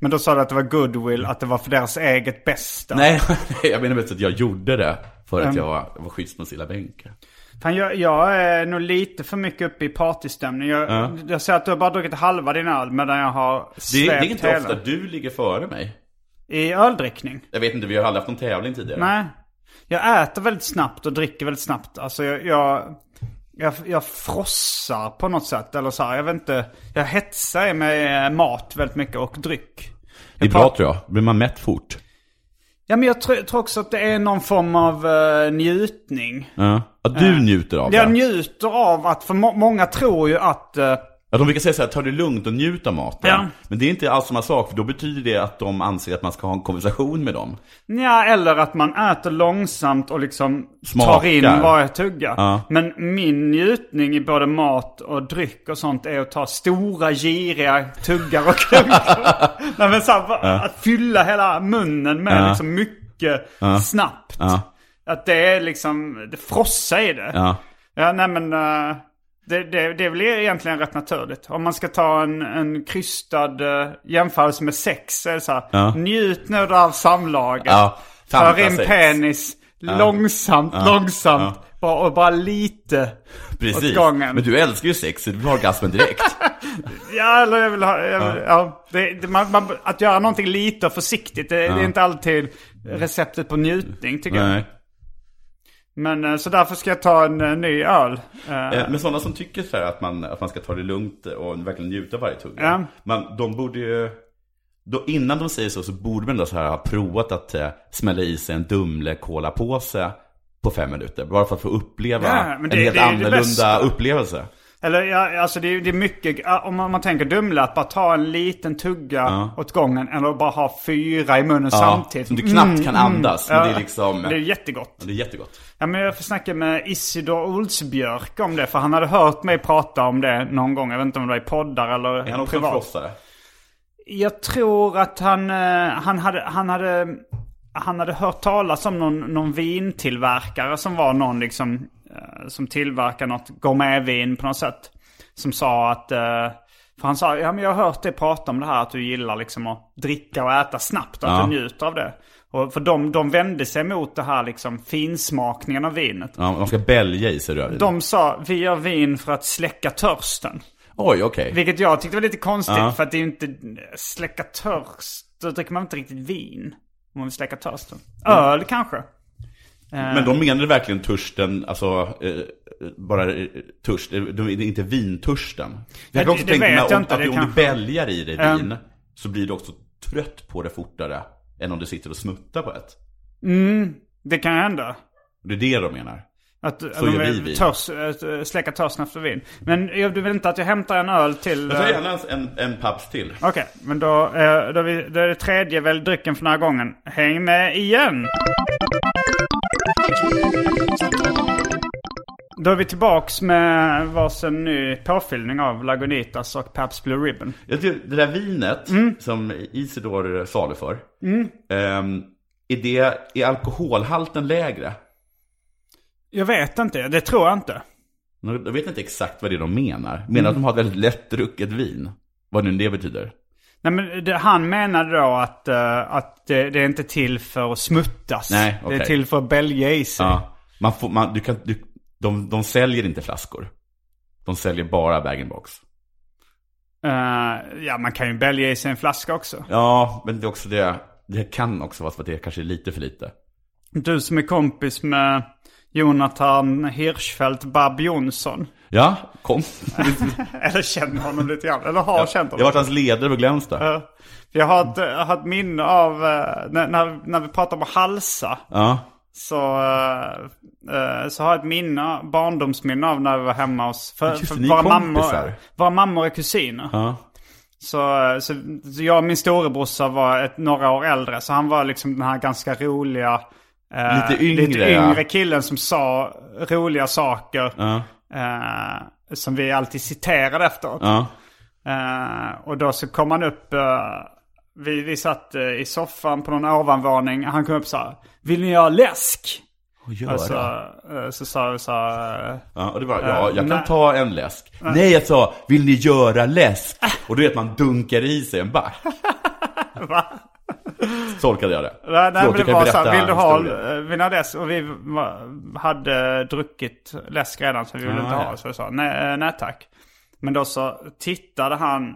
Men då sa du att det var goodwill, att det var för deras eget bästa. Nej, jag menar mest att jag gjorde det för Mm. att jag var, var schysst mot Silla Bänke. Fan, jag, jag är nog lite för mycket uppe i partystämning. Jag, jag säger att du har bara druckit halva din öl medan jag har Det, svept det är inte hela. ofta du ligger före mig. I öldrickning. Jag vet inte, vi har aldrig haft någon tävling tidigare. Nej. Jag äter väldigt snabbt och dricker väldigt snabbt. Alltså jag, jag, jag, jag frossar på något sätt. Eller så här, jag vet inte. Jag hetsar med mat väldigt mycket och dryck. det är bra tror jag. Blir man mätt fort? Ja men jag tror, tror också att det är någon form av eh, njutning. Ja. Ja, du njuter av Jag det. njuter av att, för må, många tror ju att eh, Att de brukar säga så här, ta det lugnt och njut av maten. Ja. Men det är inte alls samma sak, för då betyder det att de anser att man ska ha en konversation med dem. Ja, eller att man äter långsamt och liksom tar Smakar. in varje tugga. Ja. Men min njutning i både mat och dryck och sånt är att ta stora giriga tuggar och klunkar. Nej men så här, va- att fylla hela munnen med liksom mycket snabbt. Ja. Att det är liksom, det frossa i det. Ja. Ja, nej men eh, det, det, det är väl egentligen rätt naturligt. Om man ska ta en, en krystad eh, jämförelse med sex så är det så här. Njut nu av samlaget. Ja, För in fantasex. penis långsamt, långsamt. Bara, och bara lite. Precis. gången. Men du älskar ju sex, så du vill ha orgasmen direkt. Ja, eller jag vill ha... Jag vill, ja. det, det, man, man, att göra någonting lite och försiktigt, det, det är inte alltid receptet på njutning tycker jag. Nej. Men eh, så därför ska jag ta en eh, ny öl. Eh, Eh, Men sådana som tycker så här att man, att man ska ta det lugnt och verkligen njuta av varje tugga. Ja. Man, de borde ju... Då, innan de säger så, så borde man då så här ha provat att eh, smälla i sig en Dumle Cola-påse på fem minuter. Bara för att få uppleva Ja, men det- en helt det är ju det bästa. annorlunda upplevelse. Eller ja, alltså det är, det är mycket, ja, om man, om man tänker Dumle, att bara ta en liten tugga åt gången eller bara ha fyra i munnen samtidigt. Som du knappt kan andas. Mm, Men det ja. är liksom... Det är jättegott. det är jättegott. Ja, men jag får snacka med Isidor Olsbjörk om det, för han hade hört mig prata om det någon gång. Jag vet inte om det var i poddar eller Är han också en privat. frossare? Jag tror att han, eh, han, hade, han, hade, han hade hört talas om någon, någon vintillverkare som var någon liksom, eh, som tillverkar något gourmetvin på något sätt. Som sa att, eh, för han sa, ja men jag har hört dig prata om det här att du gillar liksom att dricka och äta snabbt och att Ja. du njuter av det. Och för de, de vände sig mot det här liksom finsmakningen av vinet. Ja, man ska bälja i sig rödvin. De sa, vi gör vin för att släcka törsten. Oj, okej. Vilket jag tyckte var lite konstigt för att det är ju inte släcka törst. Då dricker man inte riktigt vin. Om man vill släcka törsten. Mm. Öl kanske. Men de menade verkligen törsten, alltså eh, bara eh, törst, eh, de, det är inte vintörsten. Jag det- kan också det tänka vet mig jag om- inte, att det om kanske- du bälgar i dig vin så blir du också trött på det fortare än om du sitter och smuttar på ett. Det kan hända. Det är det de menar. Att, att gör vill vi vin. törs, att, eh, släcka törsten efter vin. Men jag- du vill inte att jag hämtar en öl till... Jag tar eh, gärna en, en, en paps till. Okej, men då, eh, då, är vi, då är det tredje väl drycken för den här gången. Häng med igen! Då är vi tillbaks med varsin ny påfyllning av Lagunitas och Pabst Blue Ribbon. Jag tycker, det där vinet Mm. som Isidor saluför, ehm, är, det, är alkoholhalten lägre? Jag vet inte, det tror jag inte. Jag vet inte exakt vad det är de menar. Menar att de har ett väldigt lättdrucket vin? Vad nu det betyder. Nej, men det, han menade då att, eh, att det, det är inte till för att smuttas. Nej, Det är okej. till för att bälja i sig. Ja, man får, man, du kan, du, de, de säljer inte flaskor. De säljer bara bag-in-box. Eh, ja, man kan ju bälja i sig en flaska också. Ja, men det är också det. Det kan också vara så att det kanske är lite för lite. Du som är kompis med Jonathan Hirschfeldt Bab Jonsson. Ja, kom. Eller känner honom lite grann. Eller har känt Jag har honom. varit hans ledare på Glänsta. Eh, för jag har ett, jag har ett minne av eh, när, när, när vi pratar om att halsa. Ja. Så, eh, eh, så har jag ett minne, barndomsminne av när vi var hemma hos för, Just det, för ni är våra, kompisar. mammor, våra mammor är kusiner. Ja. Så, eh, så, så jag och min storebrorsa var ett, några år äldre. Så han var liksom den här ganska roliga, eh, Lite yngre, lite yngre ja. killen som sa roliga saker. Eh, som vi alltid citerade efteråt. ja. Eh, och då så kom han upp, eh, vi, vi satt eh, i soffan på någon ovanvåning. Han kom upp så här, vill ni ha läsk? Och gör Och så, det. eh, så sa vi så här, eh, Ja, och det var, ja, jag nej. kan ta en läsk. Nej, jag sa, vill ni göra läsk? Ah. Och du vet, man dunkar i sig en back. va? Tolkade jag det. Nej, nej, Förlåt, men du det kan var så berätta här, vill du ha eh, historien. vill ni ha läsk? Och vi var- hade druckit läsk redan så vi ville Ah, inte ha. ja. Så vi sa nej, eh, nej tack. Men då så tittade han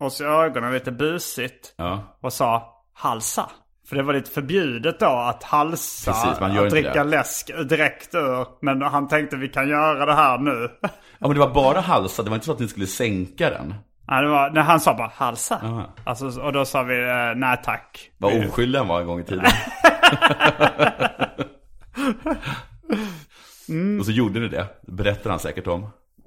oss i ögonen lite busigt Ja. och sa halsa. För det var lite förbjudet då att halsa, Precis, man gör att inte dricka det. läsk direkt ur. Men han tänkte vi kan göra det här nu. ja, men det var bara halsa. Det var inte så att ni skulle sänka den. Nej, det var, nej, han sa bara halsa. Alltså, och då sa vi eh, nej tack. Vad Vi- oskyldig han var en gång i tiden. Och så gjorde ni det. Berättar han säkert om.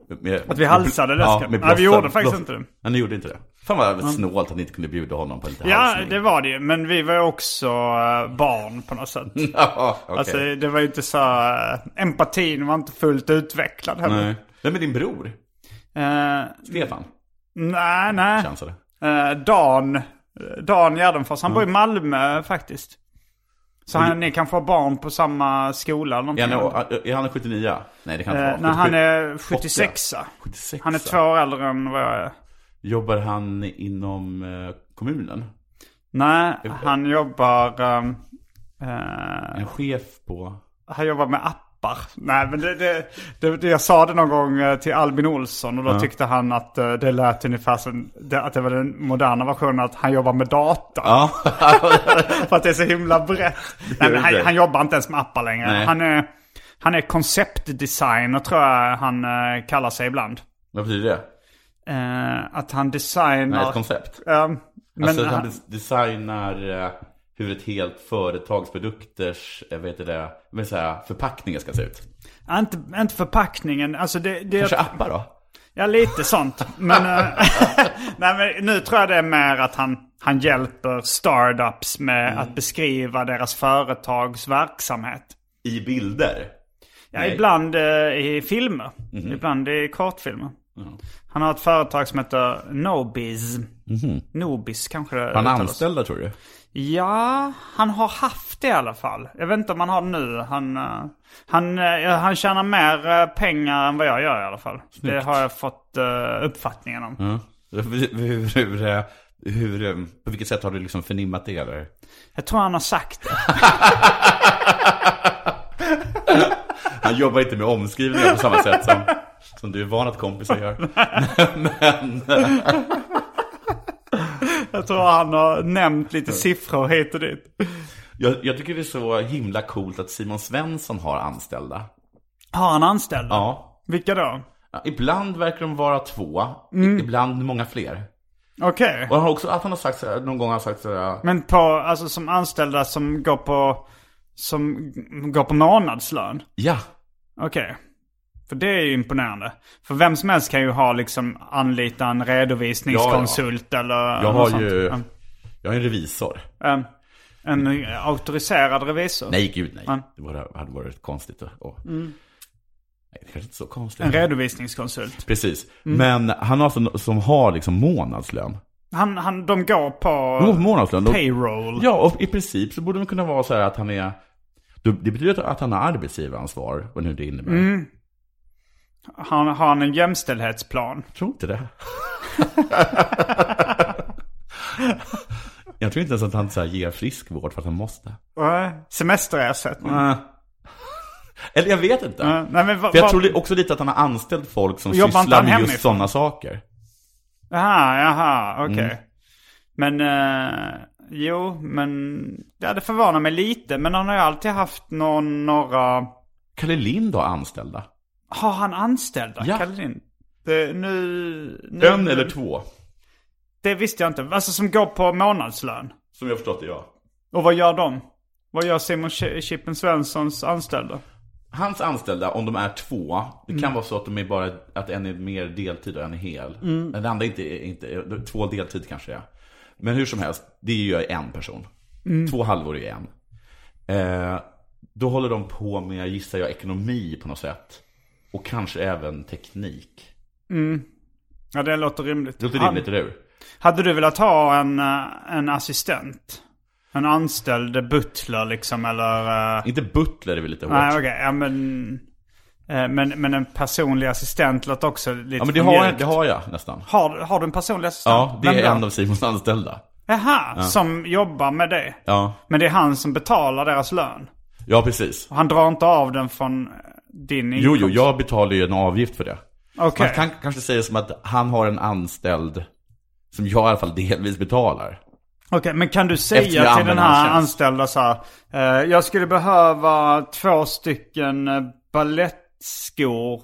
Med, Mm. Att vi halsade läsken? med Nej, vi gjorde blåsten. faktiskt Blå- inte det. Ja, ni gjorde inte det. Fan vad snålt att ni inte kunde bjuda honom på lite Ja, halsning. det var det ju. Men vi var ju också eh, barn på något sätt. Ja, Mm. okej. Alltså det var ju inte så... eh, Empatin var inte fullt utvecklad heller. Nej. Nej, men din bror, Eh, Stefan, nej, nej. chansade. Eh, Dan, Dan Gärdenfors. Han bor i Malmö faktiskt. Så han, ni kan få barn på samma skola eller Är någonting. han, är han 79? Nej, det kan han Eh, inte när vara. han 77. är 76 76. Han är två år äldre än vad jag är. Jobbar han inom eh, kommunen? Nej, han jobbar... ehm, eh, Är han chef på... han jobbar med appar. Nej, men det, det, det, det, jag sa det någon gång eh, till Albin Olsson och då tyckte han att eh, det lät ungefär som det, att det var den moderna versionen att han jobbar med data. Ja, För att det är så himla brett. Nej, men han, det. han jobbar inte ens med appar längre. Nej. Han är, han är konceptdesigner tror jag han eh, kallar sig ibland. vad betyder det? Eh, att han Nej, designar... ett koncept. Ja, men alltså, han han, des- designar eh, hur ett helt företagsprodukters, eh, vad heter det, men så här, förpackningar ska se ut. ja, inte, inte förpackningen. Alltså det, det, Kanske appar då? ja, lite sånt. Men, eh, nej, men nu tror jag det är mer att han, han hjälper startups med Mm. att beskriva deras företags verksamhet. I bilder? Ja, Nej. Mhm. ibland eh, i filmer. Ibland i kortfilmer. Han har ett företag som heter Nobiz. Nobis kanske det Mhm. Han uttalas. anställda tror du? Ja, han har haft det i alla fall. Jag vet inte om han har det nu. Han, eh, han, eh, han tjänar mer eh, pengar än vad jag gör i alla fall. Det har jag fått eh, uppfattningen om. Ja. Hur, hur, hur, eh, hur, eh, på vilket sätt har du liksom förnimmat det eller? Jag tror han har sagt det. Han jobbar inte med omskrivningar på samma sätt som, som du är van att kompisar gör. Men, Jag tror han har nämnt lite siffror hit och dit. jag, jag tycker det är så himla coolt att Simon Svensson har anställda. Har han anställd? Ja. Vilka då? Ibland verkar de vara två, i- ibland många fler. Okej. Och han har också, att han har sagt så här, någon gång har han sagt så här, Men på, alltså som anställda som går på, som går på månadslön? ja, Okej. För det är ju imponerande. För vem som helst kan ju ha liksom anlita en redovisningskonsult eller jag något har ju, sånt. jag är en revisor. En, en, en auktoriserad revisor? Nej, gud nej. Ja. Det vore- hade varit konstigt. Och, och, Nej, det kanske inte är så Mm. En Mm. konstigt. redovisningskonsult. Precis. Men han har som, som har liksom månadslön. Han, han, de går på De går på månadslön. De, payroll. ja, och i princip så borde de kunna vara så här att han är... Det det betyder att- att han har arbetsgivaransvar, vad nu det innebär. Mm. Han, har han en jämställdhetsplan? Jag tror inte det. Jag tror inte ens att han så här ger friskvård för att han måste. Eh, Semesterersättning? Eller jag vet inte. Eh, Nej, men vad- För jag vad- tror li- också lite att han har anställt folk som Jobbar inte sysslar han med just hemifrån? sådana saker. Jaha, jaha, okej. Mm. Men, eh, jo, men ja, det förvånar mig lite. Men han har ju alltid haft någon, några... Kalle Lind har anställda. Har han anställda? Ja. Kalle Lind? Det, nu, nu... En eller två, Det visste jag inte. Alltså som går på månadslön. som jag förstått det, ja. Och vad gör de? Vad gör Simon Ch- Chippen Svenssons anställda? Hans anställda, om de är två, det Mm. kan vara så att de är bara att en är mer deltid och en är hel. Mm. Men den andra inte, är- inte, två deltid kanske är. Men hur som helst, det är ju en person. Mm. Två halvor är en. Eh, då håller de på med, gissar jag, ekonomi på något sätt. Och kanske även teknik. Ja, det låter rimligt. Det låter Han- rimligt, eller hur? Hade du velat ha en, eh, en assistent? En anställd butler liksom, eller... eh, Inte butler är väl lite hårt. Nej, okej. Ja, men, eh, men, men en personlig assistent låter också lite ja, men det för har, mjukt. det har jag nästan. har, har du en personlig assistent? Ja, det Vem då? är en av Simons anställda. Jaha, som jobbar med det. Ja, Men det är han som betalar deras lön. ja precis. Och han drar inte av den från eh, din Jo, inkomst. jo, jag betalar ju en avgift för det. Okej. Man kan kanske säga som att han har en anställd som jag i alla fall delvis betalar. Okej, men kan du Eftersom säga jag till den använder här hans tjänst. anställda så här, eh, jag skulle behöva två stycken eh, ballettskor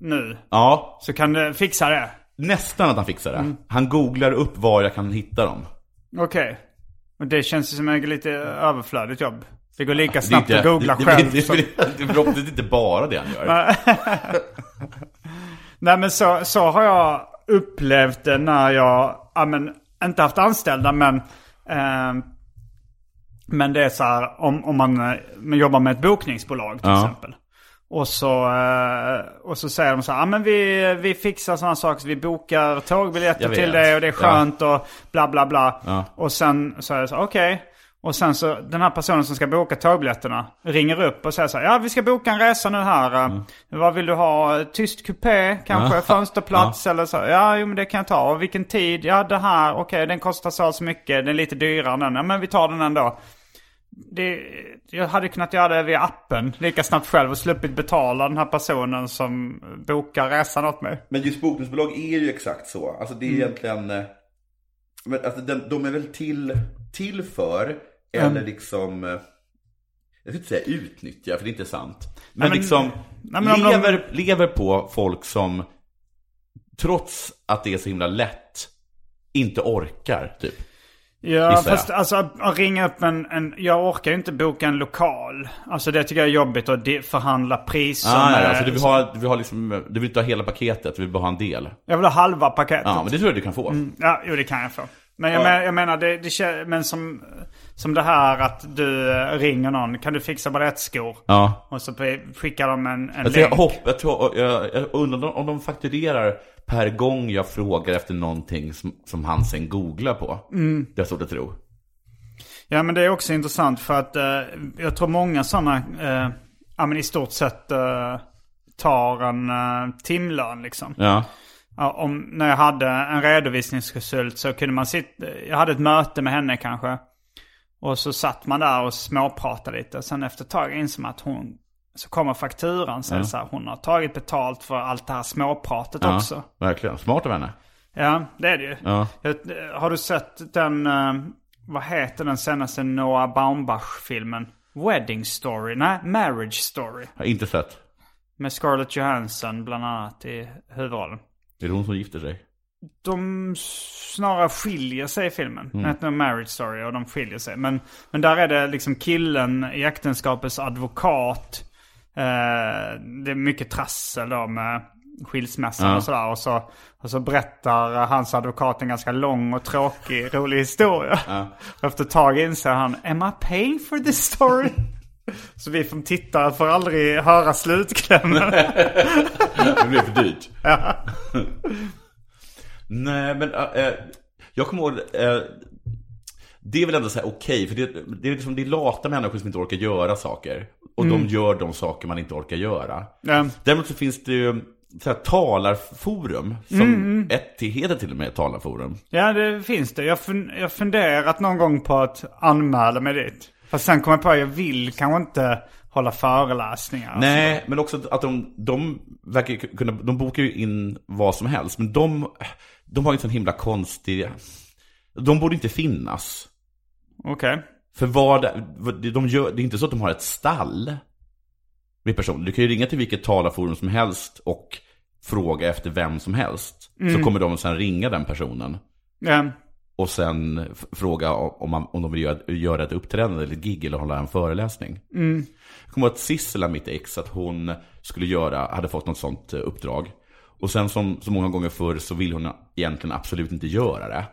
nu. Ja, Så kan du fixa det? nästan att han fixar det. Han googlar upp var jag kan hitta dem. Okej. Och det känns ju som ett lite överflödigt jobb. Det går lika Det är snabbt att googla det, själv Det, det, som... det, det, det, det, det är inte bara det han gör. Nej men så, så har jag upplevt det när jag, ja men inte haft anställda men eh, Men det är så här om, om man, eh, man jobbar med ett bokningsbolag till Ja. exempel. Och så, eh, och så säger de så här, ja men vi, vi fixar sådana saker, så vi bokar tågbiljetter Jag vet. till dig och det är Ja. skönt och bla bla bla. Ja. Och sen så är det så, okej. Och sen så den här personen som ska boka tågbiljetterna ringer upp och säger så här, ja vi ska boka en resa nu här. eh, Vad vill du ha? Tyst kupé kanske? Mm. Ja. Fönsterplats eller så? Ja, jo men det kan jag ta. Och vilken tid? Ja det här, okej den kostar så och så mycket, den är lite dyrare än den. Ja men vi tar den ändå. Det, jag hade kunnat göra det via appen lika snabbt själv och sluppit betala den här personen som bokar resan åt mig. Men just bokningsbolag är ju exakt så. Alltså Mm. det är egentligen... eh, Men alltså den, de är väl till, till för, eller liksom... eh, Jag ska inte säga utnyttja, för det är inte sant. Men, men- liksom, nej, men om de- lever, lever på folk som, trots att det är så himla lätt, inte orkar, typ. Ja, Gissar jag. fast alltså att att ringa upp en, en... Jag orkar ju inte boka en lokal. Alltså det tycker jag är jobbigt att de- förhandla priser Ah, nej, med- alltså du vill, ha, du, vill ha liksom, du vill inte ha hela paketet, du vill bara ha en del. Jag vill ha halva paketet. Ja, men det tror jag du kan få. Ja, jo det kan jag få. Men jag, men, jag menar, det, det, kän- men som, som det här att du eh, ringer någon. Kan du fixa balettskor? Ja. Och så pe- skickar de en, en Alltså, jag, länk. hopp, jag, tror, jag, jag undrar om de fakturerar per gång jag frågar efter någonting som, som han sen googlar på. Mm. Det har jag svårt att tro. Ja, men det är också intressant för att eh, jag tror många sådana, eh, ja men i stort sett eh, tar en eh, timlön liksom. Ja. Ja, om, när jag hade en redovisningskonsult så kunde man sitta, jag hade ett möte med henne kanske. Och så satt man där och småpratade lite. Sen efter ett tag insåg man att hon, så kommer fakturan så, är det så här, hon har tagit betalt för allt det här småpratet ja. också. Verkligen. Smart av henne. Ja, det är det ju. Ja. Jag- Har du sett den, eh, vad heter den senaste Noah Baumbach-filmen? Wedding Story? Nej, Marriage Story. Har inte sett. Med Scarlett Johansson bland annat i huvudrollen. Är det hon som gifter sig? de snarare skiljer sig i filmen. Den heter Marriage Story och de skiljer sig. Men, men där är det liksom killen i äktenskapets advokat. Eh, det är mycket trassel då med skilsmässan Ja. och sådär. Och så, och så berättar hans advokat en ganska lång och tråkig, rolig historia. Och Efter ett tag inser han, am I paying for this story? så vi som tittare får aldrig höra slutklämmen. Det blev för dyrt. Nej, men äh, äh, jag kommer ihåg... Äh, det är väl ändå så här okej, för det, det är liksom det är lata människor som inte orkar göra saker. Och de gör de saker man inte orkar göra. Ja. Däremot så finns det ju så här, talarforum, som ett till heter till och med talarforum. Ja, det finns det. Jag fun- jag funderat någon gång på att anmäla mig dit. Fast sen kom jag på att jag vill kanske inte hålla föreläsningar. Nej, men också att de, de verkar ju kunna, de bokar ju in vad som helst, men de, de har ju en sån himla konstig, de borde inte finnas. Okej. För vad, vad de gör, det är inte så att de har ett stall med personer. Du kan ju ringa till vilket talarforum som helst och fråga efter vem som helst. Så kommer de sen ringa den personen Ja. och sen f- fråga om, man, om de vill göra, göra ett uppträdande eller ett gig eller hålla en föreläsning. Jag kommer ihåg att Sissela, mitt ex, att hon skulle göra, hade fått något sånt eh, uppdrag. Och sen som så många gånger förr så vill hon egentligen absolut inte göra det.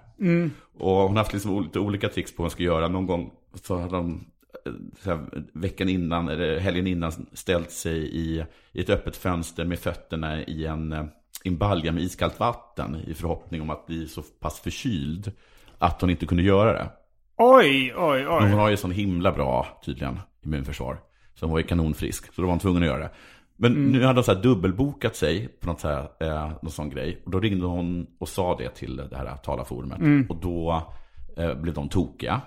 Och hon har haft liksom ol- lite olika tricks på vad hon ska göra. Någon gång så hade de eh, så här, veckan innan, eller helgen innan, ställt sig i, i ett öppet fönster med fötterna i en, eh, i en balja med iskallt vatten i förhoppning om att bli så pass förkyld att hon inte kunde göra det. Oj, oj, Men hon oj. har ju sån himla bra, tydligen, immunförsvar. Så hon var ju kanonfrisk, så då var hon tvungen att göra det. Men nu hade hon så här dubbelbokat sig på något så här, eh, någon sån grej. Och då ringde hon och sa det till det här talarforumet. Och då eh, blev de tokiga.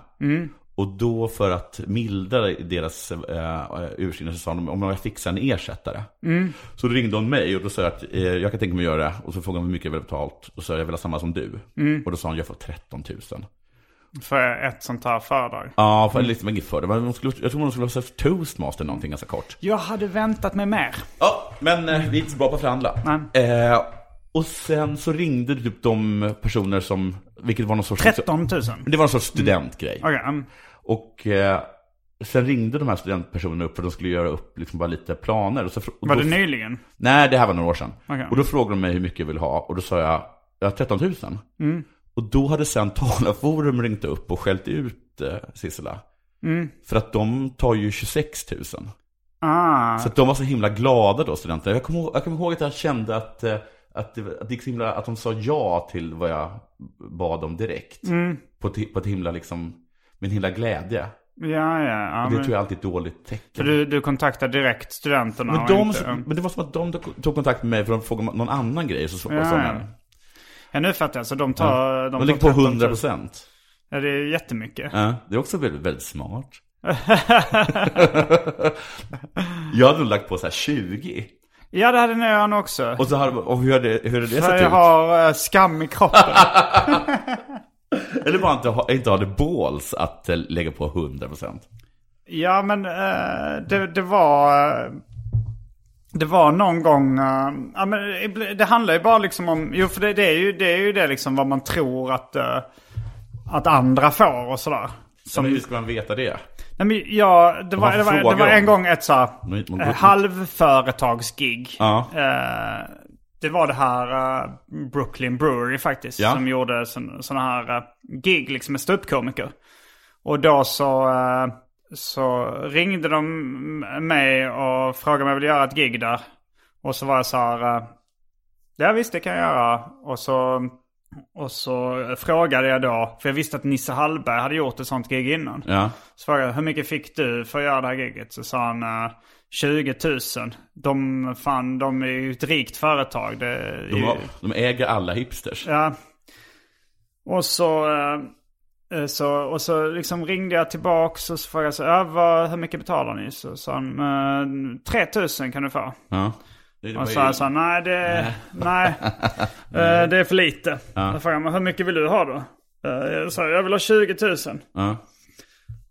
Och då för att mildra deras eh, ursinne så sa de om jag fixar en ersättare. Så då ringde hon mig och då sa jag att eh, jag kan tänka mig att göra det. Och så frågade hon hur mycket jag vill ha betalt. Och så sa jag jag vill ha samma som du. Och då sa hon jag får 13 000. För ett sånt här föredrag. Ja, för liksom inget för det. Men de skulle, jag tror hon skulle ha sett toastmaster någonting ganska kort. Jag hade väntat mig mer. Ja, men eh, vi är inte så bra på att förhandla. Eh, och sen så ringde typ de personer som, vilket var någon sorts... 13 000. Det var någon sorts studentgrej. Mm. Okej. mm. Och eh, Sen ringde de här studentpersonerna upp för de skulle göra upp liksom bara lite planer. Och så, fr- och Var då- det nyligen? Nej, det här var några år sedan. Okej. Och då frågade de mig hur mycket jag vill ha och då sa jag, jag har 13 000. Mm. Och då hade sen Talarforum ringt upp och skällt ut eh, Sissela. Mm. För att de tar ju 26 000. Ah, Så att de var så himla glada då, studenterna. Jag kommer ihåg, jag kommer ihåg att jag kände att, eh, att, det, att, det gick så himla, att de sa ja till vad jag bad om direkt. På, ett, hi- på ett himla liksom, med en himla glädje. Mm. ja, ja. ja Och det men, tror jag alltid är ett dåligt tecken. för du, du kontaktar direkt studenterna Men, och de, inte... ja. men det var som att de tog- tog kontakt med mig för de frågade om någon annan grej. Så, så, Ja, ja, så, ja. Ja, nu fattar jag. Så de tar... De, de tar ligger på 13 000. 100 procent. Ja, det är ju jättemycket. Det är också väldigt, väldigt smart. jag hade nog lagt på så här 20. Ja, det hade jag nog också. Och, så har, och hur hade hur hade det För sett jag ut? har eh, skam i kroppen. Eller bara inte, ha, inte hade balls att eh, lägga på 100 procent. Ja, men eh, det, det var... eh, Det var någon gång... eh, ja, men det- det handlar ju bara liksom om... Jo, för det, det, är, ju, det är ju det liksom vad man tror att, eh, att andra får och sådär. Men hur ska man veta det? Nej, men ja, det, var, man det, var, det frågar var om. en gång ett så här, Man- man går- eh, halvföretagsgig. Ja. Eh, det var det här eh, Brooklyn Brewery faktiskt. Ja. Som gjorde sådana här eh, gig liksom med ståuppkomiker. Och då så, eh, så ringde de m- mig och frågade om jag ville göra ett gig där. Och så var jag så här, eh, ja visst det kan jag göra. Och så, och så frågade jag då, för jag visste att Nisse Hallberg hade gjort ett sånt gig innan. Ja. Så frågade jag hur mycket fick du för att göra det här giget? Så sa han eh, 20 000. De, fan, de är ju ett rikt företag. Det är De, ju... har, de äger alla hipsters. Ja. Och så, eh, eh, så, och så liksom ringde jag tillbaks och så frågade jag så, ja, vad, hur mycket betalar ni? Så sa han, eh, 3 000 kan du få. Ja. Det, det Och så var ju- sa han, nej det, nej. Eh, det är för lite. Då frågade jag, men hur mycket vill du ha då? Eh, Jag sa, jag vill ha 20 000. ja.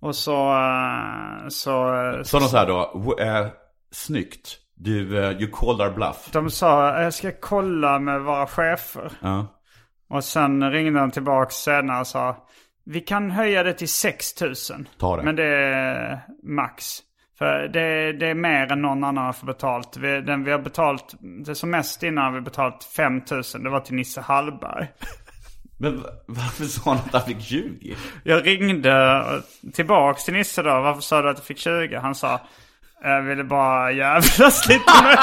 Och så, eh, så, eh, Sa de så här då, "W- eh, snyggt, du, eh, you called our bluff. De sa jag ska kolla med våra chefer. Ja. Och sen ringde han tillbaka senare och sa vi kan höja det till 6 000. Ta det. Men det är max. För det, det är mer än någon annan får betalt. Vi, den vi har betalt, det som mest innan har vi betalt 5 000. Det var till Nisse Hallberg. Men va- varför sa han att han fick 20? Jag ringde tillbaks till Nisse då. Varför sa du att du fick 20? Han sa jag ville bara jävlas lite med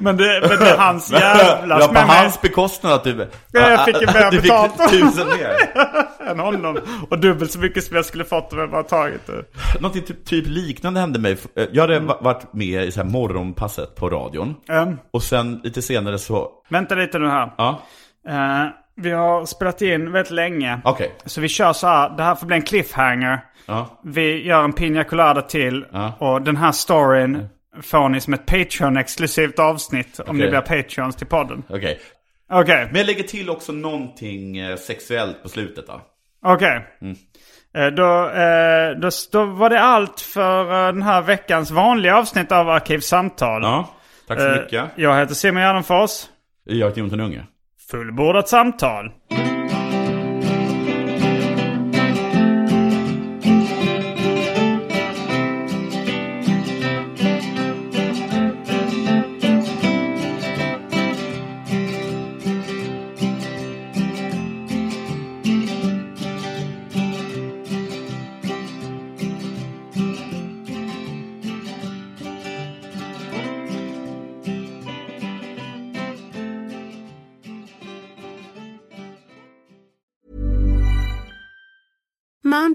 Men det, men det är hans jävlas Ja, på med mig hans bekostnad att du... Ja, jag fick ju mer du fick betalt. tusen mer. än honom. Och dubbelt så mycket som jag skulle fått om jag bara tagit det. Någonting typ, typ liknande hände mig. Eh, Jag hade va- varit med i så här morgonpasset på radion. Mm. Och sen lite senare så... Vänta lite nu här. Ja, Eh, vi har spelat in väldigt länge. okej. Så vi kör så här. Det här får bli en cliffhanger. Ja. Vi gör en Pina Colada till. Och den här storyn får ni som ett Patreon-exklusivt avsnitt. Om ni Okej. blir Patreons till podden. Okej. Okej, Men jag lägger till också någonting eh, sexuellt på slutet då. okej. Mm. Eh, Då, eh, då, då var det allt för eh, den här veckans vanliga avsnitt av Arkivsamtal. Ja, tack så Eh, mycket. Jag heter Simon Gärdenfors. Jag heter Jonathan Unge. Fullbordat samtal. Mom